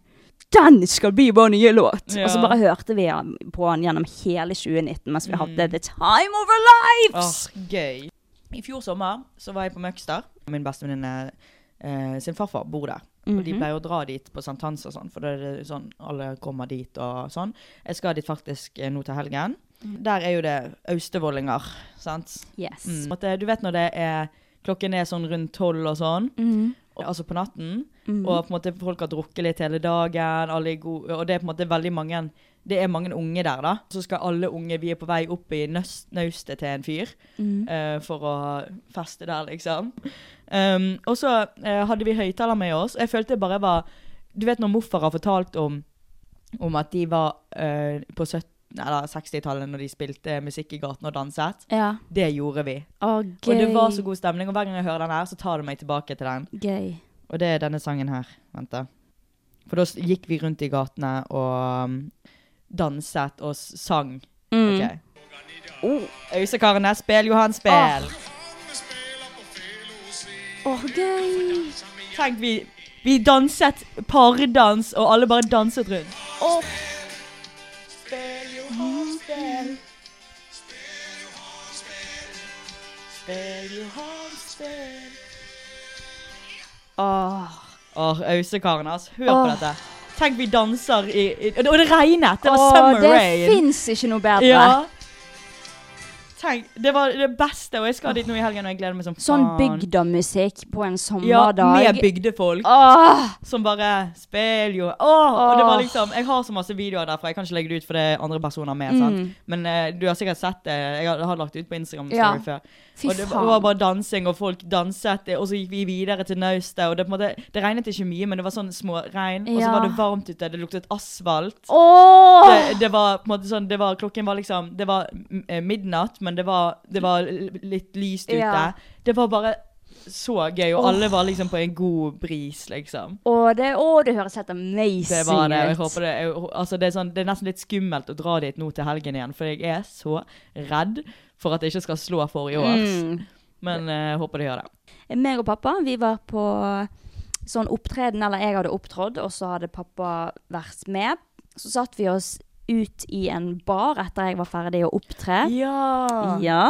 Speaker 4: Den skal bli vår nye låt!
Speaker 1: Ja.
Speaker 4: Og så bare hørte vi på den gjennom hele 2019 mens vi hadde The Time of Our Lives!
Speaker 1: Mm. Åh, gøy. I fjor sommer så var jeg på Møgster. Min bestevenninne eh, sin farfar bor der. Og de pleier å dra dit på sankthans og sånn, for da er det sånn alle kommer dit og sånn. Jeg skal dit faktisk eh, nå til helgen. Der er jo det austevollinger, sant.
Speaker 4: Yes.
Speaker 1: Mm. At, eh, du vet når det er klokken er sånn rundt tolv og sånn, og, altså på natten, og på en måte folk har drukket litt hele dagen, alle er gode, og det er på en måte veldig mange det er mange unge der, da. Så skal alle unge Vi er på vei opp i nøs- naustet til en fyr eh, for å feste der, liksom. Um, og så eh, hadde vi høyttaler med oss, og jeg følte jeg bare var Du vet når morfar har fortalt om om at de var eh, på 17 eller 60-tallet når de spilte musikk i gaten og danset.
Speaker 4: Ja.
Speaker 1: Det gjorde vi.
Speaker 4: Å, gøy.
Speaker 1: Og det var så god stemning, og hver gang jeg hører den her, så tar det meg tilbake til den.
Speaker 4: Gøy.
Speaker 1: Og det er denne sangen her. Vent, da. For da s- gikk vi rundt i gatene og um, danset og s- sang.
Speaker 4: Mm.
Speaker 1: Ok. Oh, Øysekarene, spill Johan, spill!
Speaker 4: Å, gøy.
Speaker 1: Tenk, vi, vi danset pardans, og alle bare danset rundt.
Speaker 4: Åh.
Speaker 1: Åh, Øysekarene, altså. Hør
Speaker 4: Åh.
Speaker 1: på dette. Tenk, vi danser i, i Og det regnet! Det var
Speaker 4: Åh,
Speaker 1: summer
Speaker 4: det
Speaker 1: rain.
Speaker 4: fins ikke noe bedre.
Speaker 1: Ja. Tenk, det var det beste, og jeg skal dit nå i helgen, og jeg gleder meg som
Speaker 4: Sånn
Speaker 1: faen.
Speaker 4: bygdamusikk på en
Speaker 1: Ja,
Speaker 4: sommerdag.
Speaker 1: med bygdefolk
Speaker 4: Åh,
Speaker 1: som bare spiller jo Åh, Og det var
Speaker 4: Åh.
Speaker 1: liksom Jeg har så masse videoer derfra, jeg kan ikke legge det ut for det er andre personer med, sant.
Speaker 4: Mm.
Speaker 1: Men eh, du har sikkert sett det, jeg har, har lagt det ut på Instagram story
Speaker 4: Ja.
Speaker 1: før.
Speaker 4: fy
Speaker 1: og det
Speaker 4: faen.
Speaker 1: var bare dansing, og folk danset, og så gikk vi videre til naustet, og det på en måte Det regnet ikke mye, men det var sånn småregn, og så
Speaker 4: Ja.
Speaker 1: var det varmt ute, det luktet asfalt.
Speaker 4: Åh!
Speaker 1: det, det var på en måte sånn det var, Klokken var liksom Det var mm, eh, midnatt, men det var, det var l- litt lyst ute.
Speaker 4: Ja.
Speaker 1: Det var bare så gøy, og alle var liksom på en god bris, liksom.
Speaker 4: Åh, det, åh, det høres helt amazing
Speaker 1: Det var det. og Jeg
Speaker 4: ut.
Speaker 1: håper det, jeg, hå- altså det, er sånn, det er nesten litt skummelt å dra dit nå til helgen igjen, for jeg er så redd for at jeg ikke skal slå forrige års.
Speaker 4: Mm.
Speaker 1: Men eh, jeg håper det gjør det.
Speaker 4: Meg og pappa, vi var på sånn opptreden, eller jeg hadde opptrådt, og så hadde pappa vært med. Så satt vi oss ut i en bar etter jeg var ferdig å opptre.
Speaker 1: Ja! Mm.
Speaker 4: Ja.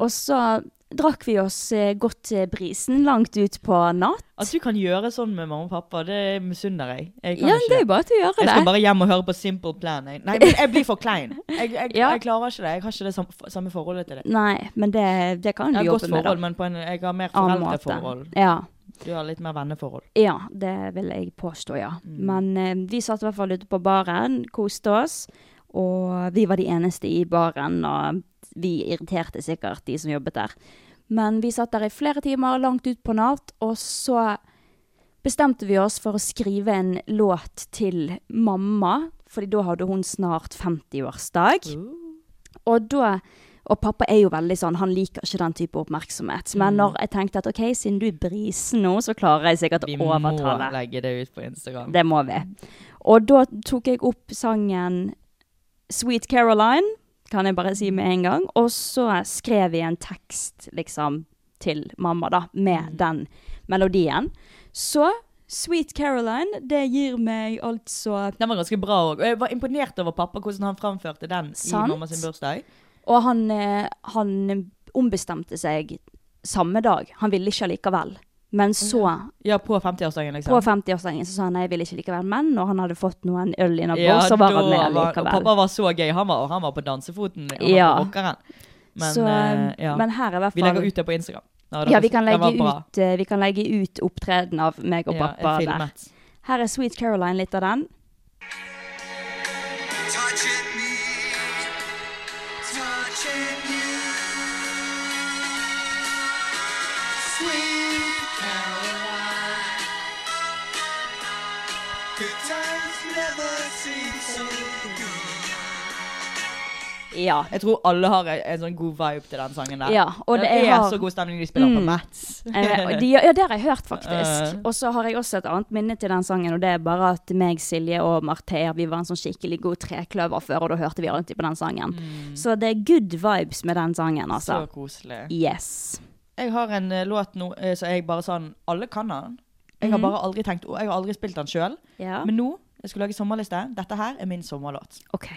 Speaker 4: Og så drakk vi oss eh, godt eh, brisen langt ut på natt.
Speaker 1: At du kan gjøre sånn med mamma og pappa, det misunner jeg. jeg kan
Speaker 4: Ja,
Speaker 1: ikke
Speaker 4: det er jo bare til å gjøre det.
Speaker 1: Jeg skal bare hjem og høre på Simple Plan. Jeg. Nei, men jeg blir for klein. Jeg, jeg,
Speaker 4: Ja.
Speaker 1: jeg klarer ikke det. Jeg har ikke det sam samme forholdet til det.
Speaker 4: Nei, men det, det kan
Speaker 1: Jeg
Speaker 4: du
Speaker 1: har godt
Speaker 4: jobbe med. da.
Speaker 1: forhold, men på en, jeg har mer
Speaker 4: Annen
Speaker 1: foreldreforhold.
Speaker 4: måte. Ja.
Speaker 1: Du har litt mer venneforhold. Mm.
Speaker 4: ja, det vil jeg påstå, ja. Men eh, vi satt i hvert fall ute på baren, koste oss. Og vi var de eneste i baren, og vi irriterte sikkert de som jobbet der. Men vi satt der i flere timer, langt ut på natt, og så bestemte vi oss for å skrive en låt til mamma, fordi da hadde hun snart 50-årsdag.
Speaker 1: Uh.
Speaker 4: Og da og pappa er jo veldig sånn, han liker ikke den type oppmerksomhet. Men
Speaker 1: Mm.
Speaker 4: når jeg tenkte at ok, siden du er brisen nå, så klarer jeg sikkert
Speaker 1: Vi
Speaker 4: å overtale.
Speaker 1: må legge det ut på Instagram.
Speaker 4: Det må vi. Og da tok jeg opp sangen Sweet Caroline, kan jeg bare si med en gang. Og så skrev jeg en tekst, liksom, til mamma, da, med
Speaker 1: Mm.
Speaker 4: den melodien. Så Sweet Caroline, det gir meg altså
Speaker 1: Den var ganske bra òg. Og jeg var imponert over pappa, hvordan han framførte den
Speaker 4: Sant.
Speaker 1: i mamma sin bursdag.
Speaker 4: Og han, eh, han ombestemte seg samme dag. Han ville ikke allikevel. Men så,
Speaker 1: Ja, på 50-årsdagen, liksom.
Speaker 4: på 50-årsdagen, så sa han nei, jeg vil ikke likevel. Men når han hadde fått noen øl innabords,
Speaker 1: ja,
Speaker 4: så var
Speaker 1: da
Speaker 4: han med
Speaker 1: var- Og
Speaker 4: allikevel.
Speaker 1: pappa var så gøy. Han var, og han var på dansefoten. Han
Speaker 4: Ja.
Speaker 1: var på rockeren. Men,
Speaker 4: så,
Speaker 1: eh, ja.
Speaker 4: men her er i hvert
Speaker 1: vi
Speaker 4: fall
Speaker 1: legger ut det på Instagram. Ja,
Speaker 4: Ja, vi kan,
Speaker 1: den var
Speaker 4: legge
Speaker 1: bra.
Speaker 4: ut, eh, vi kan legge ut opptreden av meg og
Speaker 1: Ja,
Speaker 4: pappa
Speaker 1: jeg
Speaker 4: der.
Speaker 1: filmet.
Speaker 4: Her er Sweet Caroline litt av den. Ja.
Speaker 1: Jeg tror alle har en, en sånn god vibe til den sangen der.
Speaker 4: Ja, og
Speaker 1: den
Speaker 4: det- jeg
Speaker 1: er
Speaker 4: har-
Speaker 1: så god stemning de spiller
Speaker 4: Mm.
Speaker 1: på Mats.
Speaker 4: Eh, og de, ja, det har jeg hørt, faktisk.
Speaker 1: Eh.
Speaker 4: Og så har jeg også et annet minne til den sangen, og det er bare at meg, Silje og Marthea, vi var en sånn skikkelig god trekløver før, og da hørte vi alltid på den sangen. Så det er good vibes med den sangen,
Speaker 1: Mm. Så
Speaker 4: altså.
Speaker 1: koselig.
Speaker 4: Yes.
Speaker 1: Jeg har en eh, låt nå eh, så jeg bare sånn Alle kan den. Jeg har bare aldri tenkt Jeg har aldri spilt den sjøl.
Speaker 4: Mhm. Ja.
Speaker 1: Men nå, jeg skulle lage sommerliste. Dette her er min sommerlåt.
Speaker 4: OK.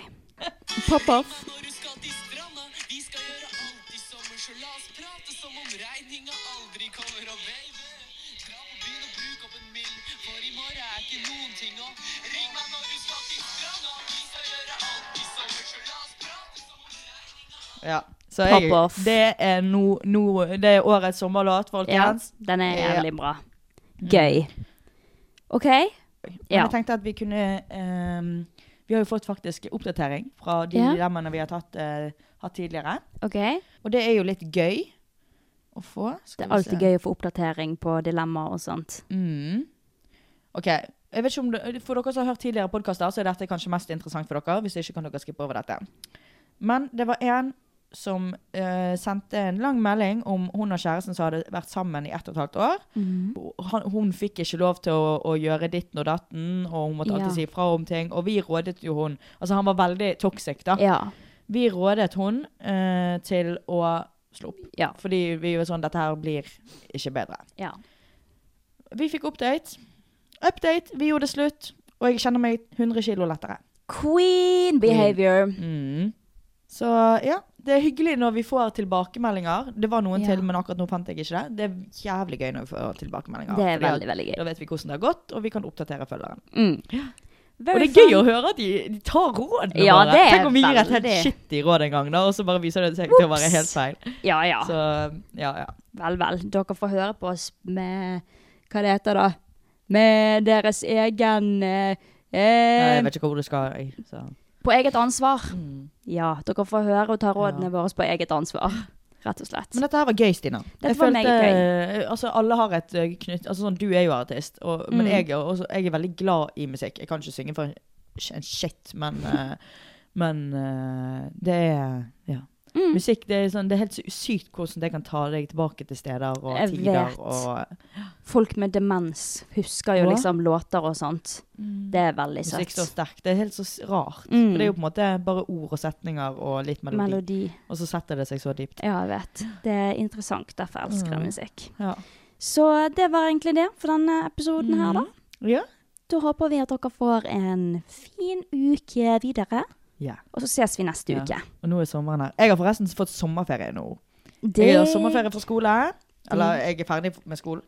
Speaker 4: Pop off.
Speaker 1: Ja. Så jeg,
Speaker 4: Pop off.
Speaker 1: det er nå nå- Det er årets sommerlåt,
Speaker 4: Ja,
Speaker 1: folkens.
Speaker 4: den er
Speaker 1: Ja. Mm.
Speaker 4: jævlig bra. Gøy. OK?
Speaker 1: Men
Speaker 4: Ja.
Speaker 1: jeg tenkte at vi kunne ehm, Vi har jo fått faktisk oppdatering fra de
Speaker 4: Ja.
Speaker 1: dilemmaene vi har tatt, eh, hatt tidligere.
Speaker 4: OK?
Speaker 1: Og det er jo litt gøy å få.
Speaker 4: Det er alltid gøy å få oppdatering på dilemmaer og sånt.
Speaker 1: Mm. Ok, jeg vet ikke om det, For dere som har hørt tidligere podkaster, så er dette kanskje mest interessant for dere. Hvis ikke kan dere skippe over dette. Men det var en som eh, sendte en lang melding om hun og kjæresten som hadde vært sammen i ett og et halvt år.
Speaker 4: Mhm.
Speaker 1: Han, hun fikk ikke lov til å, å gjøre ditten og datten, og hun
Speaker 4: Ja.
Speaker 1: måtte alltid si fra om ting. Og vi rådet jo hun Altså, han var veldig toxic, da.
Speaker 4: Ja.
Speaker 1: Vi rådet hun eh, til å slå opp.
Speaker 4: Ja.
Speaker 1: Fordi vi var sånn Dette her blir ikke bedre.
Speaker 4: Ja.
Speaker 1: Vi fikk update. Update, vi gjorde det slutt. Og jeg kjenner meg 100 kilo lettere.
Speaker 4: Queen behavior.
Speaker 1: Så ja, det er hyggelig når vi får tilbakemeldinger. Det var noen
Speaker 4: Ja.
Speaker 1: til, men akkurat nå fant jeg ikke det. Det er jævlig gøy når vi får tilbakemeldinger.
Speaker 4: Det er
Speaker 1: fordi at
Speaker 4: veldig, veldig gøy.
Speaker 1: Da vet vi hvordan det har gått, og vi kan oppdatere følgeren.
Speaker 4: Mm.
Speaker 1: og det er gøy å høre at de, de tar rådene
Speaker 4: Ja,
Speaker 1: våre.
Speaker 4: det er
Speaker 1: Tenk om vi gir et helt
Speaker 4: veldig-
Speaker 1: shitty råd en gang, da, og så bare viser det seg til å være
Speaker 4: Ops.
Speaker 1: helt feil.
Speaker 4: Ja, ja.
Speaker 1: Så ja, ja.
Speaker 4: Vel, vel. Dere får høre på oss med Hva det heter da? Med deres egen eh,
Speaker 1: Jeg
Speaker 4: eh,
Speaker 1: vet ikke hvor du skal. jeg, Så. Mm.
Speaker 4: På eget ansvar. Ja. Dere får høre og ta rådene våre på eget ansvar. Rett og slett.
Speaker 1: Men dette her var gøy, Stina.
Speaker 4: Dette var meget
Speaker 1: gøy. Altså, alle har et eh, knytt... Altså, sånn, du er jo artist, og, men
Speaker 4: Mm.
Speaker 1: jeg, er også, jeg er veldig glad i musikk. Jeg kan ikke synge for en, sh- en shit, men, eh, men eh, det er ja.
Speaker 4: Mm.
Speaker 1: Musikk det er, sånn, det er helt sy- sykt hvordan det kan ta deg tilbake til steder og
Speaker 4: Jeg
Speaker 1: tider.
Speaker 4: vet.
Speaker 1: Og
Speaker 4: Folk med demens husker jo
Speaker 1: Hva?
Speaker 4: liksom låter og sånt. Det er veldig
Speaker 1: Mm. musikk så
Speaker 4: søtt.
Speaker 1: sterkt. Det er helt så s- rart.
Speaker 4: Mm.
Speaker 1: For det er jo på en måte bare ord og setninger og litt melodi.
Speaker 4: Melodi.
Speaker 1: Og så setter det seg så dypt. Mm.
Speaker 4: Ja, jeg vet. Det er interessant. Derfor elsker jeg musikk.
Speaker 1: Ja.
Speaker 4: Så det var egentlig det for denne episoden her, da.
Speaker 1: Mm. Ja.
Speaker 4: Da håper vi at dere får en fin uke videre.
Speaker 1: Ja.
Speaker 4: Og så ses vi neste
Speaker 1: Ja.
Speaker 4: uke.
Speaker 1: Og nå er sommeren her. Jeg har forresten fått sommerferie nå.
Speaker 4: Det
Speaker 1: Jeg har sommerferie fra skole. Eller jeg er ferdig med skolen.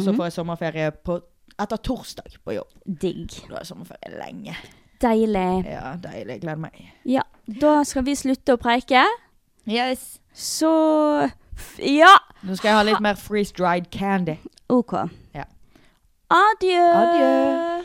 Speaker 4: Mhm.
Speaker 1: så får jeg sommerferie på, etter torsdag på jobb.
Speaker 4: digg.
Speaker 1: Da er sommerferie lenge.
Speaker 4: Deilig.
Speaker 1: Ja, deilig. Gleder meg.
Speaker 4: Ja, da skal vi slutte å preike.
Speaker 1: Yes.
Speaker 4: Så f- Ja!
Speaker 1: Nå skal jeg ha litt mer freeze dried candy.
Speaker 4: OK.
Speaker 1: Ja.
Speaker 4: Adjø.
Speaker 1: Adjø.